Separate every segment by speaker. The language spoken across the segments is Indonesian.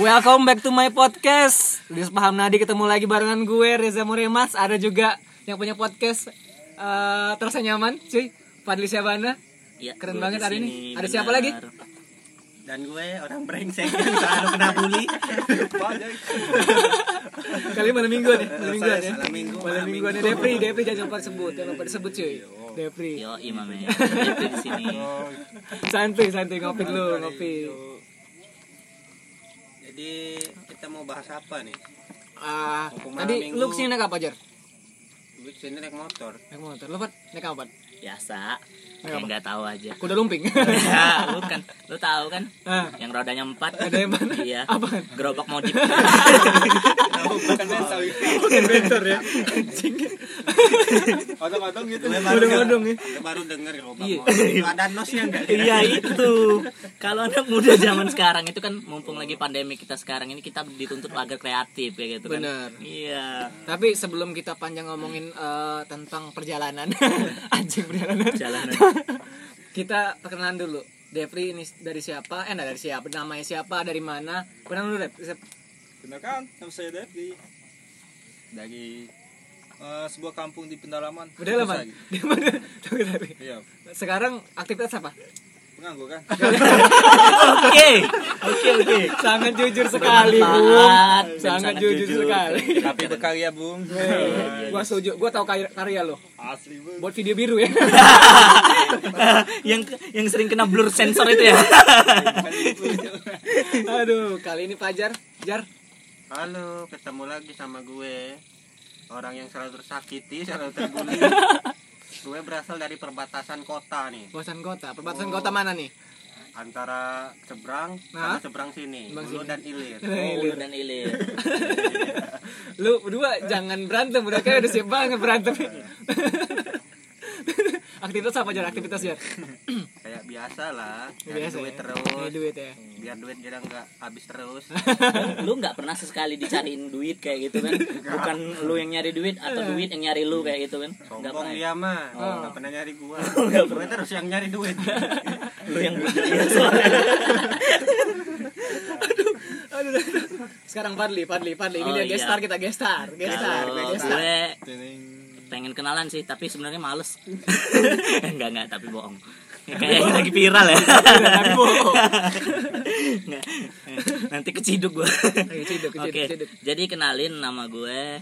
Speaker 1: Welcome back to my podcast. Lius Paham Nadi ketemu lagi barengan gue Reza Muremas. Ada juga yang punya podcast eh, terasa nyaman, cuy. Fadli Syabana.
Speaker 2: Iya,
Speaker 1: Keren
Speaker 2: gue
Speaker 1: banget
Speaker 2: di
Speaker 1: hari ini.
Speaker 2: sini,
Speaker 1: Ada siapa
Speaker 2: benar.
Speaker 1: lagi?
Speaker 2: Dan gue orang brengsek yang selalu kena bully.
Speaker 1: Kali mana mingguan ya? Malam mingguan ya.
Speaker 2: Malam minggu,
Speaker 1: Malam
Speaker 2: malam
Speaker 1: mingguan ya. Depri, Depri jangan lupa disebut, jangan lupa disebut cuy. Depri.
Speaker 2: Yo, imam
Speaker 1: Iya.
Speaker 2: ya. Itu di sini.
Speaker 1: Santuy, santuy ngopi dulu, ngopi.
Speaker 3: Jadi kita mau bahas apa nih?
Speaker 1: Ah,
Speaker 3: Mumpung malam
Speaker 1: tadi lu
Speaker 3: minggu.
Speaker 1: kesini naik apa, Jar?
Speaker 3: Gue kesini naik motor.
Speaker 1: Naik motor. Lu, Fat? Naik apa, Fat?
Speaker 2: Biasa.
Speaker 1: Kenapa?
Speaker 2: Kayak nggak tahu aja.
Speaker 1: Kuda lumping.
Speaker 2: Ya, lu kan, lu tahu kan?
Speaker 1: Ah,
Speaker 2: Yang rodanya empat.
Speaker 1: ada yang mana?
Speaker 2: Iya.
Speaker 1: Apaan?
Speaker 2: Gerobak modif.
Speaker 4: bukan mental
Speaker 1: Bukan bentor ya.
Speaker 4: otong-otong gitu
Speaker 3: Gue
Speaker 1: Bodong-bodong ya.
Speaker 3: gue baru denger kalau
Speaker 1: Iya.
Speaker 3: Bang Mau. Ada nosnya enggak?
Speaker 2: Iya itu. Kalau anak muda zaman sekarang itu kan mumpung lagi pandemi kita sekarang ini kita dituntut agar kreatif ya gitu kan.
Speaker 1: Benar.
Speaker 2: Iya.
Speaker 1: Tapi sebelum kita panjang ngomongin eh, tentang perjalanan, anjing perjalanan.
Speaker 2: Jalanan.
Speaker 1: kita perkenalan dulu. Depri ini dari siapa? Eh, nah, dari siapa? Namanya siapa? Dari mana? Perkenalan dulu, Dep. Sep-
Speaker 4: bener kan nama saya Devi dari eh, sebuah kampung di pendalaman
Speaker 1: Udah lama.
Speaker 4: Terus lagi.
Speaker 1: Di mana? Tunggu, tadi.
Speaker 4: iya kan?
Speaker 1: Sekarang aktivitas apa?
Speaker 4: pengangguran
Speaker 2: Oke. Oke oke.
Speaker 4: Iya.
Speaker 1: Sangat jujur sekali, Bung.
Speaker 2: Bermanfaat dan
Speaker 1: Sangat jujur sekali.
Speaker 4: tapi berkarya bung
Speaker 1: Gua setuju, gua tahu karya, karya lo.
Speaker 4: asli bung
Speaker 1: Buat video biru ya.
Speaker 2: yang yang sering kena blur sensor itu ya.
Speaker 1: Aduh, kali ini Fajar, Jar.
Speaker 3: Halo, ketemu lagi sama gue. Orang yang selalu tersakiti, selalu terbully. gue berasal dari perbatasan kota nih
Speaker 1: Bosan kota. Perbatasan kota mana nih?
Speaker 3: antara seberang
Speaker 1: Hah?
Speaker 3: sama seberang sini,
Speaker 1: Seberang
Speaker 3: hulu
Speaker 1: sini.
Speaker 3: dan ilir.
Speaker 1: Iya.
Speaker 2: Oh, Ulur dan ilir.
Speaker 1: lu berdua jangan berantem udah kayak udah siap banget berantem aktivitas apa jar aktivitas jar
Speaker 3: Kayak biasa lah, cari
Speaker 1: biasa
Speaker 3: duit
Speaker 1: ya? Cari
Speaker 3: terus,
Speaker 1: duit ya
Speaker 3: biar duit kita nggak habis terus.
Speaker 2: lu nggak pernah sesekali dicariin duit kayak gitu kan bukan lu yang nyari duit atau
Speaker 1: Iya.
Speaker 2: duit yang nyari lu kayak gitu kan nggak
Speaker 3: Sombong
Speaker 2: pernah
Speaker 3: dia mah, nggak pernah nyari gua. Gue terus yang nyari duit.
Speaker 2: lu yang iya, soalnya.
Speaker 1: aduh aduh. sekarang Padli Padli Padli ini
Speaker 2: Oh,
Speaker 1: dia
Speaker 2: iya.
Speaker 1: gestar kita gestar gestar
Speaker 2: kalau
Speaker 1: gestar
Speaker 2: gue
Speaker 4: Teneng.
Speaker 2: pengen kenalan sih tapi sebenarnya males enggak enggak tapi bohong Ya, kayaknya lagi viral ya Nggak. nanti keciduk gue
Speaker 1: Oke, keciduk, keciduk,
Speaker 2: Oke,
Speaker 1: keciduk.
Speaker 2: jadi kenalin nama gue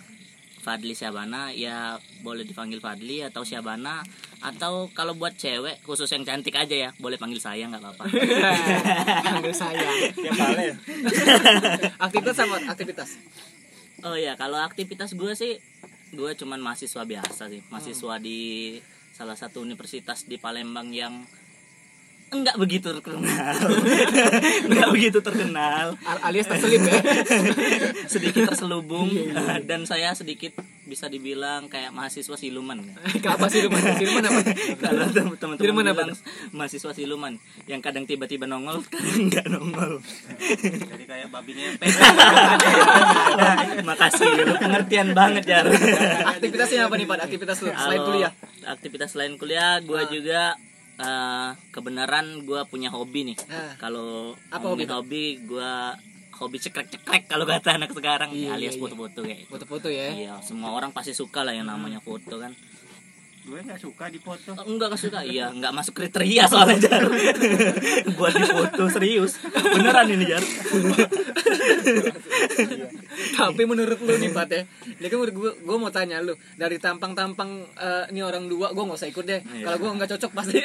Speaker 2: Fadli Syabana ya boleh dipanggil Fadli atau Syabana atau kalau buat cewek khusus yang cantik aja ya boleh panggil saya nggak apa-apa
Speaker 1: panggil Nah, saya
Speaker 4: tiap kali
Speaker 1: aktivitas apa aktivitas
Speaker 2: oh ya kalau aktivitas gue sih gue cuman mahasiswa biasa sih mahasiswa
Speaker 1: Hmm.
Speaker 2: di salah satu universitas di Palembang yang enggak begitu terkenal enggak begitu terkenal
Speaker 1: Al- alias terselip ya
Speaker 2: sedikit terselubung
Speaker 1: Iya,
Speaker 2: dan saya sedikit bisa dibilang kayak mahasiswa siluman
Speaker 1: apa sih rumah siluman apa
Speaker 2: kalau teman-teman
Speaker 1: Siluman apa
Speaker 2: bilang mahasiswa siluman yang kadang tiba-tiba nongol kadang enggak nongol
Speaker 3: Jadi kayak babi ngepet.
Speaker 2: Nah, makasih lu pengertian banget ya
Speaker 1: aktivitasnya apa nih Pad aktivitas lu selain
Speaker 2: Kalau
Speaker 1: kuliah Ah.
Speaker 2: Aktivitas selain kuliah, gue juga eh, kebenaran gue punya hobi nih.
Speaker 1: Ah.
Speaker 2: Kalau
Speaker 1: Apa hobi,
Speaker 2: ngomongin
Speaker 1: Pak?
Speaker 2: hobi, gue hobi cekrek-cekrek kalau kata anak sekarang
Speaker 1: Iya,
Speaker 2: alias
Speaker 1: iya. Hmm.
Speaker 2: foto-foto kayak gitu.
Speaker 1: foto-foto ya
Speaker 2: Iya, semua orang pasti suka lah yang namanya foto kan.
Speaker 3: gue nggak suka dipoto.
Speaker 2: Oh, enggak enggak suka. Iya, enggak masuk kriteria soalnya Jar. Buat difoto serius. Beneran ini Jar.
Speaker 1: tapi menurut lu nih Pat ya dia kan gue gue mau tanya lu dari tampang-tampang eh, nih orang dua gue nggak usah ikut deh
Speaker 2: Iya.
Speaker 1: kalau gue nggak cocok pasti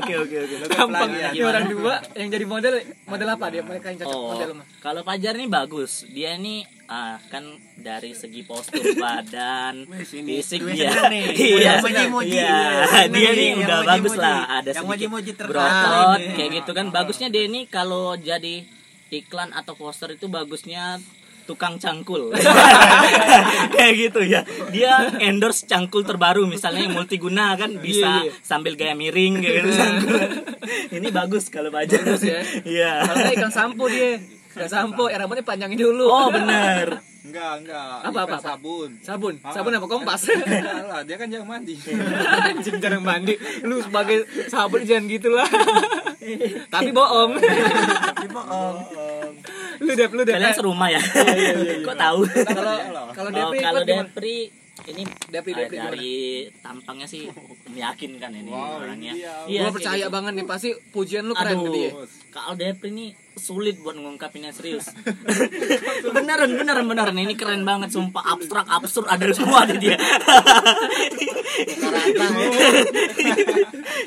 Speaker 2: Oke oke oke.
Speaker 1: tampang
Speaker 2: Gimana?
Speaker 3: ya.
Speaker 1: nih orang dua yang jadi model model apa dia mereka yang cocok
Speaker 2: Oh,
Speaker 1: model mah
Speaker 2: kalau Fajar nih bagus. Dia nih ah, kan dari segi postur badan,
Speaker 3: Wes, ini
Speaker 2: fisik
Speaker 3: gue
Speaker 2: dia.
Speaker 3: seneng nih.
Speaker 2: Iya,
Speaker 3: Yang moji-moji.
Speaker 2: iya.
Speaker 3: Seneng
Speaker 2: Dia
Speaker 3: nih,
Speaker 2: nih
Speaker 3: yang
Speaker 2: udah bagus
Speaker 3: moji-moji.
Speaker 2: lah. Ada
Speaker 3: Yang
Speaker 2: sedikit
Speaker 3: moji-moji Iya. Oh. terkenal
Speaker 2: berotot
Speaker 3: ini.
Speaker 2: kayak gitu kan. Bagusnya dia nih kalau jadi iklan atau poster itu bagusnya tukang cangkul kayak gitu ya dia endorse cangkul terbaru misalnya yang multiguna kan bisa
Speaker 1: Iya, iya.
Speaker 2: sambil gaya miring kayak gitu ini bagus kalau Fajar
Speaker 1: Bagus ya.
Speaker 2: iya
Speaker 1: kalau nggak ikan sampo dia ikan sampo ya rambutnya panjangin dulu
Speaker 2: Oh benar.
Speaker 4: enggak enggak
Speaker 1: Apa,
Speaker 4: Ikan
Speaker 1: apa, apa?
Speaker 4: sabun
Speaker 1: sabun
Speaker 4: Ah.
Speaker 1: sabun apa kompas
Speaker 4: Enggak lah dia kan jarang mandi
Speaker 3: Iya.
Speaker 1: anjing jarang mandi lu sebagai sahabat jangan gitulah tapi bohong
Speaker 3: Tapi bohong.
Speaker 1: lu dep lu dep
Speaker 2: Kalian serumah
Speaker 1: Iya,
Speaker 2: ya? Kok tahu?
Speaker 1: Eh, kalau kalau
Speaker 2: Oh,
Speaker 1: Depri
Speaker 2: kalau
Speaker 1: ikut gimana?
Speaker 2: Depri ini
Speaker 1: Depri,
Speaker 2: eh,
Speaker 1: Depri
Speaker 2: dari tampangnya sih meyakinkan ini
Speaker 4: Wow,
Speaker 2: orangnya.
Speaker 4: ini dia.
Speaker 2: Iya,
Speaker 1: gua
Speaker 2: kayak
Speaker 1: percaya
Speaker 2: gitu.
Speaker 1: banget nih pasti pujian lu keren ke dia
Speaker 2: Aduh, kalau Depri ini sulit buat ngungkapinnya serius. beneran, beneran, beneran. Ini keren banget, sumpah abstrak, absurd ada semua di dia.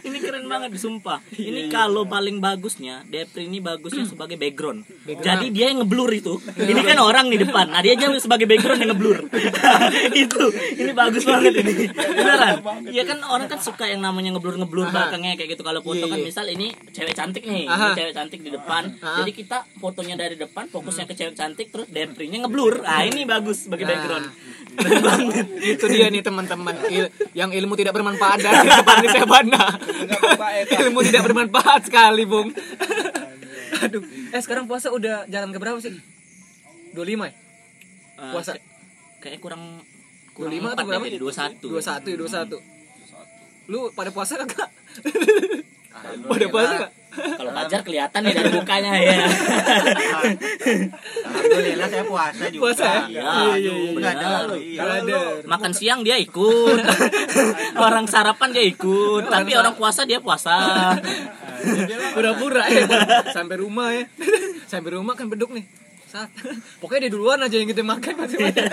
Speaker 2: ini keren banget, sumpah.
Speaker 1: Iya,
Speaker 2: Ini kalau paling bagusnya, Depri ini bagusnya
Speaker 1: Hmm.
Speaker 2: sebagai background. Jadi dia yang ngeblur itu.
Speaker 1: Iya.
Speaker 2: Ini kan orang di depan, nah dia aja sebagai background yang ngeblur. itu, ini bagus banget ini. Beneran. Iya kan orang kan suka yang namanya ngeblur-ngeblur belakangnya kayak gitu. Kalau foto kan
Speaker 1: Iya, iya.
Speaker 2: misal ini cewek cantik nih,
Speaker 1: Aha.
Speaker 2: ini cewek cantik di depan.
Speaker 1: Aha.
Speaker 2: Jadi kita fotonya dari depan, fokusnya ke cewek cantik, terus Deprinya ngeblur. Ah ini bagus sebagai background. Keren banget.
Speaker 1: itu dia nih teman-teman Il- yang ilmu tidak bermanfaat dari depan Sebana
Speaker 4: bermanfaat.
Speaker 1: ilmu tidak bermanfaat sekali bung aduh eh sekarang puasa udah jalan ke berapa sih 25 ya
Speaker 2: Eh,
Speaker 1: puasa
Speaker 2: kayak- kayaknya kurang kurang
Speaker 1: 25 atau
Speaker 2: empat ya,
Speaker 1: berapa?
Speaker 2: deh, 21.
Speaker 1: 21 ya 21 lu pada puasa kagak pada
Speaker 3: Alhamdulillah.
Speaker 1: puasa kagak?
Speaker 2: Kalau Fajar kelihatan nih dari mukanya ya.
Speaker 3: Alhamdulillah saya puasa juga.
Speaker 1: Puasa ya?
Speaker 2: Iya,
Speaker 1: Iya, iya, iya.
Speaker 2: benar.
Speaker 3: Iya.
Speaker 2: Makan siang dia ikut. orang sarapan dia ikut, tapi orang puasa dia puasa.
Speaker 1: pura-pura ya sampai rumah ya sampai rumah kan beduk nih saat pokoknya dia duluan aja yang kita makan masing-masing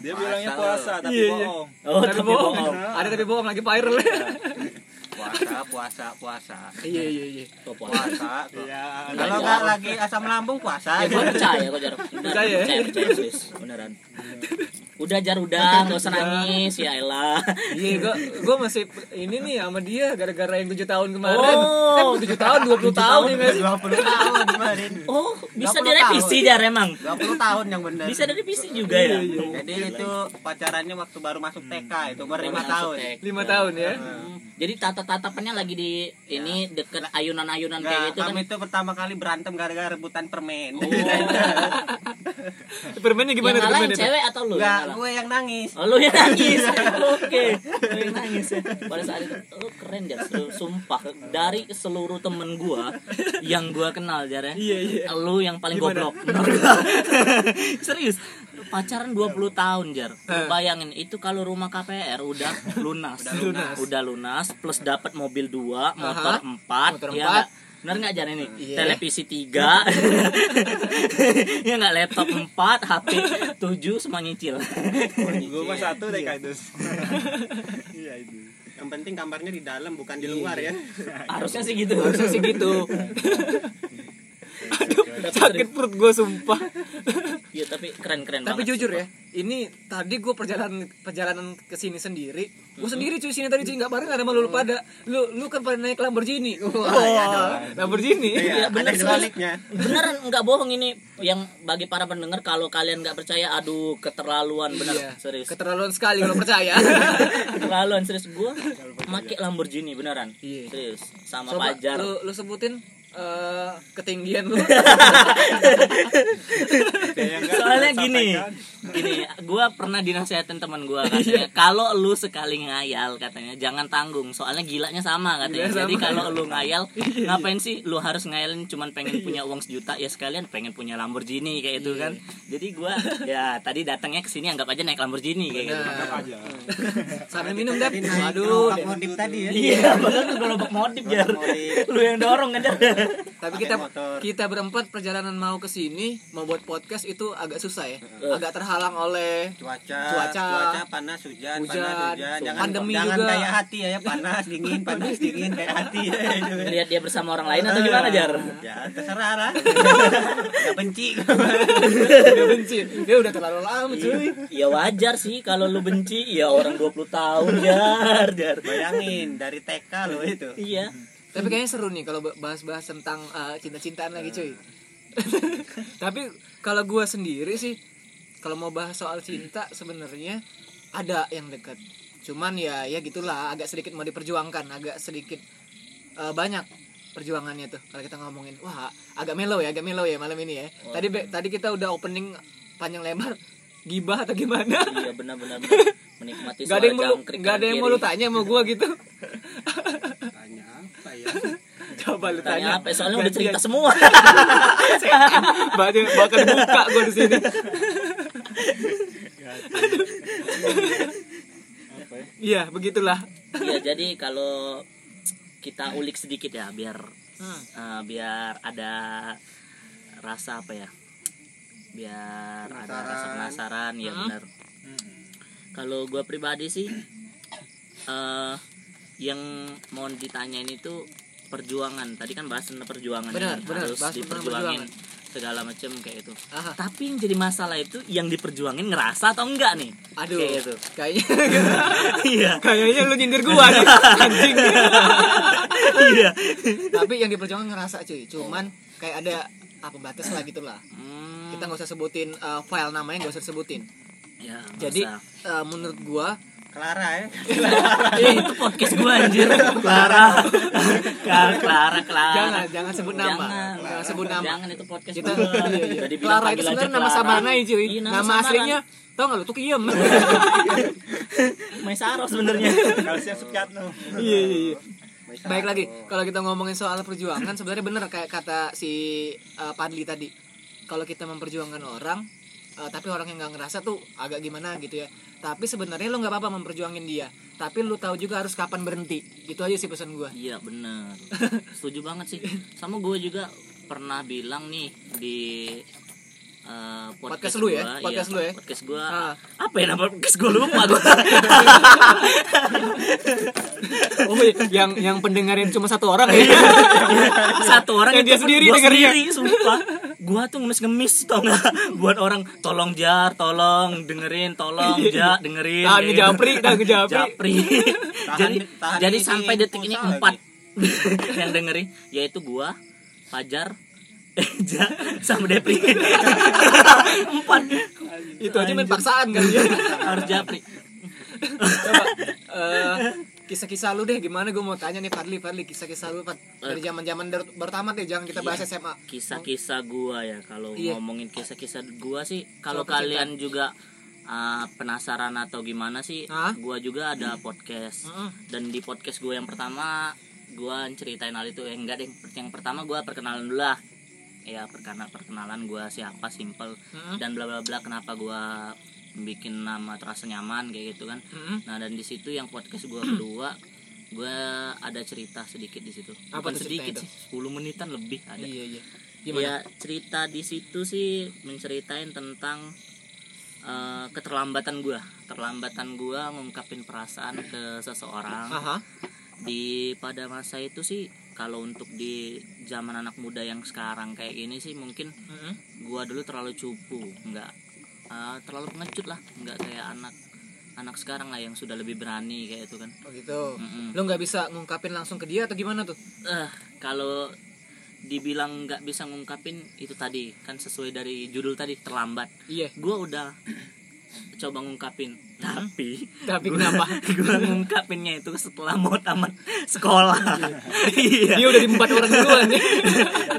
Speaker 4: Dia bilangnya puasa
Speaker 3: Puasa.
Speaker 4: tapi
Speaker 1: Iya, iya.
Speaker 4: bohong.
Speaker 2: Oh,
Speaker 1: tapi bohong ada tapi bohong lagi viral
Speaker 3: Puasa, puasa, puasa.
Speaker 1: iya iya iya
Speaker 2: Tuh, Oh, puasa.
Speaker 3: Puasa. kok.
Speaker 4: Ya,
Speaker 3: Kalau nggak lagi asam lambung
Speaker 2: Iya. Ya,
Speaker 3: puasa.
Speaker 2: gue percaya kok Jar. Beneran,
Speaker 1: Percaya ya?
Speaker 2: Percaya, percaya, serius. Beneran. Udah Jar udah, gak usah nangis ya elah.
Speaker 1: Iya, gua gua masih ini nih sama dia gara-gara yang 7 tahun kemarin.
Speaker 2: Oh.
Speaker 1: Eh, bukan 7 tahun, 20 tahun ya nggak sih?
Speaker 3: 20 tahun kemarin.
Speaker 2: Oh, bisa
Speaker 3: Nggak perlu
Speaker 2: direvisi
Speaker 3: tahu.
Speaker 2: Jar emang.
Speaker 3: 20 tahun yang benar.
Speaker 2: Bisa direvisi juga
Speaker 1: Iya,
Speaker 2: ya.
Speaker 3: Jadi itu pacarannya waktu baru masuk TK itu umur 5
Speaker 2: Hmm. Masuk
Speaker 3: tahun.
Speaker 2: tek.
Speaker 1: 5 tahun ya.
Speaker 2: Hmm. Jadi tata-tatapannya lagi di ini deket ayunan-ayunan
Speaker 3: Nggak,
Speaker 2: kayak gitu kan.
Speaker 3: kami itu pertama kali berantem gara-gara rebutan permen.
Speaker 2: Oh.
Speaker 1: Permennya
Speaker 2: Yang
Speaker 1: gimana tuh
Speaker 2: ngalahin
Speaker 1: permennya? tuh?
Speaker 2: cewek atau lu? yang
Speaker 3: Enggak,
Speaker 2: ngalah?
Speaker 3: gue yang nangis.
Speaker 2: Oh, lu yang nangis. Oke. Lu yang nangis. ya. Pada saat itu lu keren Jar, Lu sumpah dari seluruh temen gua yang gua kenal Jar ya.
Speaker 1: Iya, iya.
Speaker 2: Lu yang paling
Speaker 1: Gimana?
Speaker 2: goblok. Menurut gua. Serius. Pacaran 20 tahun Jar.
Speaker 1: Eh.
Speaker 2: Bayangin itu kalau rumah KPR udah lunas. udah
Speaker 1: lunas.
Speaker 2: Udah lunas plus dapat mobil 2, motor
Speaker 1: Aha.
Speaker 2: 4,
Speaker 1: Motor
Speaker 2: ya
Speaker 1: empat.
Speaker 2: nggak? Bener nggak Jan ini?
Speaker 1: Iya.
Speaker 2: Televisi 3 Ya nggak laptop 4 HP 7 semua nyicil
Speaker 4: gue mah satu deh kaidus. Iya itu. Iya.
Speaker 3: Yang penting kamarnya di dalam bukan di luar ya.
Speaker 2: Harusnya sih gitu
Speaker 1: Harusnya sih gitu. Aduh, sakit perut gue sumpah.
Speaker 2: Iya tapi keren-keren
Speaker 1: Tapi
Speaker 2: banget
Speaker 1: jujur ya, ini tadi gue perjalanan perjalanan ke sini sendiri. Gue sendiri cuy sini tadi cuy nggak bareng ada malu pada. Lu lu kan pada naik Lamborghini. Wah, Lamborghini.
Speaker 2: Iya, bener
Speaker 3: ada
Speaker 2: sekali.
Speaker 3: sebaliknya.
Speaker 2: Beneran nggak bohong ini Yang bagi para pendengar Kalau kalian nggak percaya Aduh keterlaluan bener
Speaker 1: Iya,
Speaker 2: Serius
Speaker 1: Keterlaluan sekali kalau percaya.
Speaker 2: Keterlaluan serius Gue make Lamborghini beneran
Speaker 1: Iya.
Speaker 2: Serius Sama
Speaker 1: Coba
Speaker 2: pajar
Speaker 1: lu, lu sebutin eh, ketinggian lu.
Speaker 2: soalnya gini gini gue pernah dinasehatin teman gue katanya kalau lu sekali ngayal katanya jangan tanggung soalnya gilanya sama katanya
Speaker 1: Gilanya
Speaker 2: jadi
Speaker 1: sama.
Speaker 2: kalau lu ngayal
Speaker 3: Iya,
Speaker 2: ngapain sih lu harus ngayalin cuman pengen punya uang sejuta ya sekalian pengen punya Lamborghini kayak
Speaker 3: Iya.
Speaker 2: itu kan jadi gue ya tadi datangnya ke sini anggap aja naik Lamborghini kayak gitu
Speaker 4: aja.
Speaker 1: Nah, Sambil minum dap. Waduh.
Speaker 3: Aduh, motif tadi ya.
Speaker 2: Iya, padahal tuh gerobak modif ya.
Speaker 3: modif.
Speaker 2: Lu yang dorong kan. Jar.
Speaker 1: Tapi
Speaker 3: Pakai
Speaker 1: kita
Speaker 3: motor.
Speaker 1: kita berempat perjalanan mau ke sini mau buat podcast itu agak susah ya. Agak terhalang oleh
Speaker 3: Cuaca,
Speaker 1: Cuaca.
Speaker 3: cuaca, panas, hujan, panas,
Speaker 1: Hujan.
Speaker 3: hujan. Jangan,
Speaker 1: Pandemi
Speaker 3: jangan
Speaker 1: juga.
Speaker 3: kayak hati ya, panas, dingin, panas, dingin kayak hati. gitu.
Speaker 2: Lihat dia bersama orang lain atau gimana, Jar?
Speaker 3: ya, terserah lah. Gak benci.
Speaker 1: udah benci. Dia udah terlalu lama cuy.
Speaker 2: Ya wajar sih kalau lu benci ya orang 20 tahun, Jar, Jar.
Speaker 3: Bayangin dari TK lo itu.
Speaker 2: Iya.
Speaker 1: Tapi kayaknya seru nih kalau bahas-bahas tentang eh, cinta-cintaan lagi cuy. Tapi kalau gua sendiri sih kalau mau bahas soal cinta sebenarnya ada yang dekat. Cuman ya ya gitulah agak sedikit mau diperjuangkan, agak sedikit eh, banyak perjuangannya tuh kalau kita ngomongin. Wah, agak mellow ya, agak mellow ya malam ini ya. Tadi be- tadi kita udah opening panjang lebar gibah atau gimana?
Speaker 2: Iya benar-benar menikmati
Speaker 1: Gak ada yang mau lu, gak ada yang mau lu tanya sama gua gitu.
Speaker 3: Tanya apa ya?
Speaker 1: Coba lu
Speaker 2: Tanya
Speaker 1: tanya. ya.
Speaker 2: apa? Soalnya udah
Speaker 1: Gantian.
Speaker 2: cerita semua.
Speaker 1: Bakal bakal buka gua di sini.
Speaker 4: apa ya?
Speaker 1: Iya, begitulah.
Speaker 2: Iya, jadi kalau kita ulik sedikit ya biar
Speaker 1: Hmm.
Speaker 2: eh, biar ada rasa apa ya? Biar ada rasa penasaran, ya
Speaker 1: Hmm.
Speaker 2: benar. Kalau gua pribadi sih eh yang mau ditanyain itu perjuangan. Tadi kan bahas tentang perjuangan
Speaker 1: Benar,
Speaker 2: ya,
Speaker 1: benar,
Speaker 2: harus
Speaker 1: bahas tentang
Speaker 2: diperjuangin segala macam kayak itu.
Speaker 1: Aha.
Speaker 2: Tapi yang jadi masalah itu yang diperjuangin ngerasa atau enggak nih?
Speaker 1: Aduh.
Speaker 2: Kayak gitu.
Speaker 1: Kayaknya
Speaker 2: Iya.
Speaker 1: kayaknya lu nyindir gua nih. Anjing.
Speaker 2: Iya.
Speaker 1: Tapi yang diperjuangkan ngerasa cuy. Cuman kayak ada apa batas lah gitu lah.
Speaker 2: Hmm,
Speaker 1: Kita nggak usah sebutin eh, file namanya nggak usah sebutin.
Speaker 2: ya,
Speaker 1: Jadi eh,
Speaker 2: masa.
Speaker 1: menurut gua
Speaker 3: Clara ya
Speaker 2: Eh, itu podcast gua anjir. Clara. Clara, Clara, Clara.
Speaker 1: jangan jangan sebut nama.
Speaker 2: Jangan.
Speaker 1: Ah. Jangan, sebut nama.
Speaker 2: Jangan itu podcast
Speaker 1: Kita
Speaker 2: gua.
Speaker 1: iya, iya.
Speaker 2: Udah dibilang
Speaker 1: Clara itu
Speaker 2: panggil aja
Speaker 1: sebenarnya nama
Speaker 2: Clara.
Speaker 1: samarnya cuy.
Speaker 2: Iya,
Speaker 1: nama Iya,
Speaker 2: samaran.
Speaker 1: aslinya tau nggak lu tuh kiem.
Speaker 2: Maisaro sebenarnya.
Speaker 4: Kalau siap Supiatno.
Speaker 1: Iya iya iya. Baik lagi, kalau kita ngomongin soal perjuangan sebenarnya bener kayak kata si eh, Padli tadi. Kalau kita memperjuangkan orang eh, tapi orang yang nggak ngerasa tuh agak gimana gitu ya. Tapi sebenarnya lu nggak apa-apa memperjuangin dia. Tapi lu tahu juga harus kapan berhenti. Itu aja sih pesan gua.
Speaker 2: Iya, bener Setuju banget sih. Sama gua juga pernah bilang nih di eh,
Speaker 1: Podcast lu ya?
Speaker 2: gua,
Speaker 1: Podcast
Speaker 2: iya,
Speaker 1: lu ya?
Speaker 2: Podcast gua.
Speaker 1: Ah.
Speaker 2: Apa ya nama podcast gua lupa gua.
Speaker 1: Oh, iya. yang yang pendengarin cuma satu orang ya.
Speaker 2: satu orang
Speaker 1: Dan
Speaker 2: itu
Speaker 1: dia
Speaker 2: pun
Speaker 1: sendiri
Speaker 2: gua
Speaker 1: dengernya.
Speaker 2: sendiri, sumpah gua tuh ngemis-ngemis tau gak buat orang tolong jar tolong dengerin tolong
Speaker 1: Iya.
Speaker 2: jar dengerin
Speaker 1: Tahan
Speaker 2: kayak
Speaker 1: ngejapri,
Speaker 2: gitu.
Speaker 1: tahan ngejapri.
Speaker 2: Japri.
Speaker 3: Tahan-
Speaker 2: jadi
Speaker 3: tahan
Speaker 2: jadi
Speaker 3: ini
Speaker 2: sampai detik ini
Speaker 3: pulsa
Speaker 2: empat yang dengerin yaitu gua Fajar Eja sama Depri empat
Speaker 1: Itu aja main paksaan kan dia.
Speaker 2: harus Japri
Speaker 1: Coba eh, kisah-kisah lu deh gimana gue mau tanya nih Fadli Fadli kisah-kisah lu
Speaker 2: Eh.
Speaker 1: Fad dari zaman-zaman dar- baru tamat deh jangan kita bahas
Speaker 2: Iya.
Speaker 1: SMA.
Speaker 2: kisah-kisah gua ya kalau
Speaker 1: Iya.
Speaker 2: ngomongin kisah-kisah gua sih kalau
Speaker 1: Soal percintaan.
Speaker 2: kalian juga uh, penasaran atau gimana sih
Speaker 1: Hah?
Speaker 2: gua juga ada podcast
Speaker 1: Heeh.
Speaker 2: dan di podcast gua yang pertama gua ceritain hal itu eh, enggak deh yang pertama gua perkenalan dulu lah ya perkenalan perkenalan gua siapa simple
Speaker 1: Heeh.
Speaker 2: dan bla bla bla kenapa gua bikin nama terasa nyaman kayak gitu kan
Speaker 1: Heeh.
Speaker 2: Nah dan di situ yang podcast gua kedua gue ada cerita sedikit di situ.
Speaker 1: Apa
Speaker 2: Bukan
Speaker 1: tuh
Speaker 2: sedikit
Speaker 1: cerita
Speaker 2: sih, 10 menitan lebih ada.
Speaker 1: Iya iya. Gimana?
Speaker 2: Ya cerita di situ sih menceritain tentang eh, keterlambatan gua, terlambatan gua ngungkapin perasaan ke seseorang
Speaker 1: Aha.
Speaker 2: di pada masa itu sih kalau untuk di zaman anak muda yang sekarang kayak gini sih mungkin
Speaker 1: Heeh.
Speaker 2: gua dulu terlalu cupu nggak eh, terlalu pengecut lah nggak kayak anak anak sekarang lah yang sudah lebih berani kayak itu kan
Speaker 1: Oh gitu.
Speaker 2: Mm-mm.
Speaker 1: Lu nggak bisa ngungkapin langsung ke dia atau gimana tuh?
Speaker 2: Eh, kalau dibilang nggak bisa ngungkapin itu tadi kan sesuai dari judul tadi terlambat
Speaker 1: Iya.
Speaker 2: gua udah coba ngungkapin tapi
Speaker 1: Tapi
Speaker 2: gua-
Speaker 1: kenapa?
Speaker 2: gua ngungkapinnya itu setelah mau tamat sekolah iya
Speaker 1: Dia udah di empat orang duluan nih.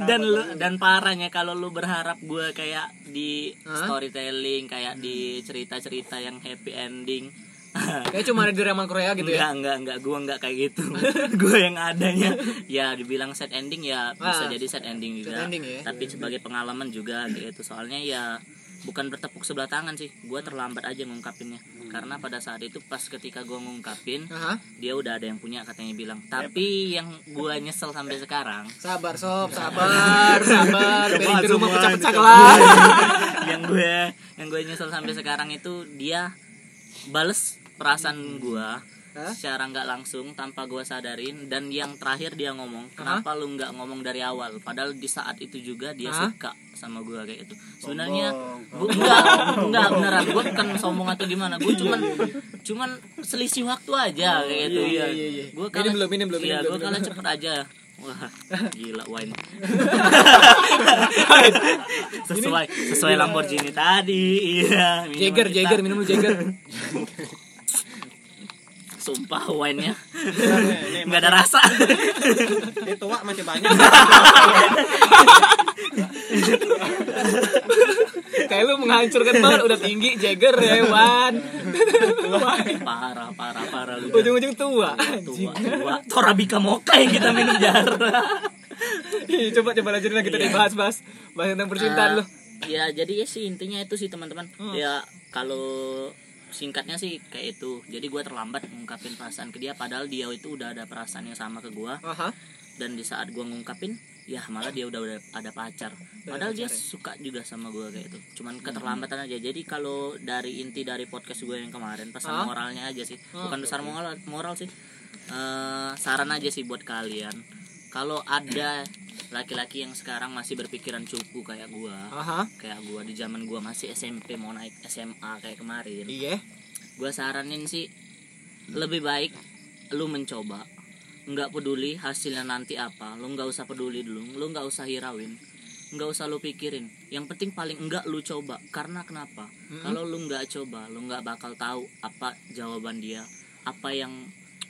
Speaker 2: dan lu- dan parahnya kalau lu berharap gue kayak di
Speaker 1: Hah?
Speaker 2: storytelling kayak di cerita-cerita yang happy ending
Speaker 1: Kayak cuma ada di drama Korea gitu ya.
Speaker 2: enggak enggak enggak gue enggak kayak gitu gue yang adanya ya dibilang sad ending ya bisa
Speaker 1: Ah,
Speaker 2: jadi sad ending juga
Speaker 1: sad ending ya.
Speaker 2: tapi sebagai pengalaman juga gitu soalnya ya bukan bertepuk sebelah tangan sih gue terlambat aja ngungkapinnya karena pada saat itu pas ketika gue ngungkapin
Speaker 1: Aha.
Speaker 2: dia udah ada yang punya katanya bilang tapi yang gue nyesel sampai sekarang
Speaker 1: Sabar sob, sabar, sabar. Piring di rumah
Speaker 4: semua,
Speaker 1: pecah-pecah
Speaker 4: dicabut.
Speaker 1: lah.
Speaker 2: yang gue yang gue nyesel sampai sekarang itu dia bales perasaan gue
Speaker 1: Hah?
Speaker 2: secara nggak langsung tanpa gue sadarin dan yang terakhir dia ngomong kenapa lu nggak ngomong dari awal padahal di saat itu juga dia
Speaker 1: Hah?
Speaker 2: suka sama gue kayak itu sebenarnya gue enggak enggak beneran gue bukan sombong atau gimana gue cuman cuman selisih waktu aja kayak gitu
Speaker 1: iya, iya, iya.
Speaker 2: gue
Speaker 1: Minum belum, minum belum, minum
Speaker 2: gue
Speaker 1: belum,
Speaker 2: kalah cepet aja wah gila wine sesuai sesuai Lamborghini tadi iya minuman
Speaker 1: Jagger,
Speaker 2: kita.
Speaker 1: Jagger, Iya. minum lu Jagger.
Speaker 2: sumpah wine nya
Speaker 1: Iya,
Speaker 4: ini
Speaker 2: nggak ada rasa
Speaker 3: Dia tua masih banyak
Speaker 1: Kayak lu menghancurkan banget udah tinggi Jagger Rewan. iya.
Speaker 2: parah parah parah lu
Speaker 1: Ujung-ujung tua.
Speaker 2: tua tua torabika moka yang kita minum jar
Speaker 1: Ih, coba coba lanjutin lagi tadi bahas-bahas bahas tentang percintaan lu. Hmm.
Speaker 2: Ah, ya jadi ya sih intinya itu sih teman-teman ya kalau singkatnya sih kayak itu jadi gua terlambat ngungkapin perasaan ke dia padahal dia itu udah ada perasaan yang sama ke gua
Speaker 1: Ah, Aha.
Speaker 2: dan di saat gua ngungkapin ya malah dia udah, udah ada pacar padahal dia suka juga sama gua kayak itu cuman keterlambatan aja jadi kalau dari inti dari podcast gua yang kemarin pesan
Speaker 1: Hah?
Speaker 2: moralnya aja sih bukan besar moral moral sih Eh, saran aja sih buat kalian kalau ada laki-laki yang sekarang masih berpikiran cupu kayak gua
Speaker 1: Aha.
Speaker 2: kayak gua di zaman gua masih SMP mau naik SMA kayak kemarin
Speaker 1: Iya.
Speaker 2: gue saranin sih lebih baik lu mencoba nggak peduli hasilnya nanti apa lu nggak usah peduli dulu lu nggak usah hirauin nggak usah lu pikirin yang penting paling enggak lu coba karena kenapa kalau lu nggak coba lu nggak bakal tahu apa jawaban dia apa yang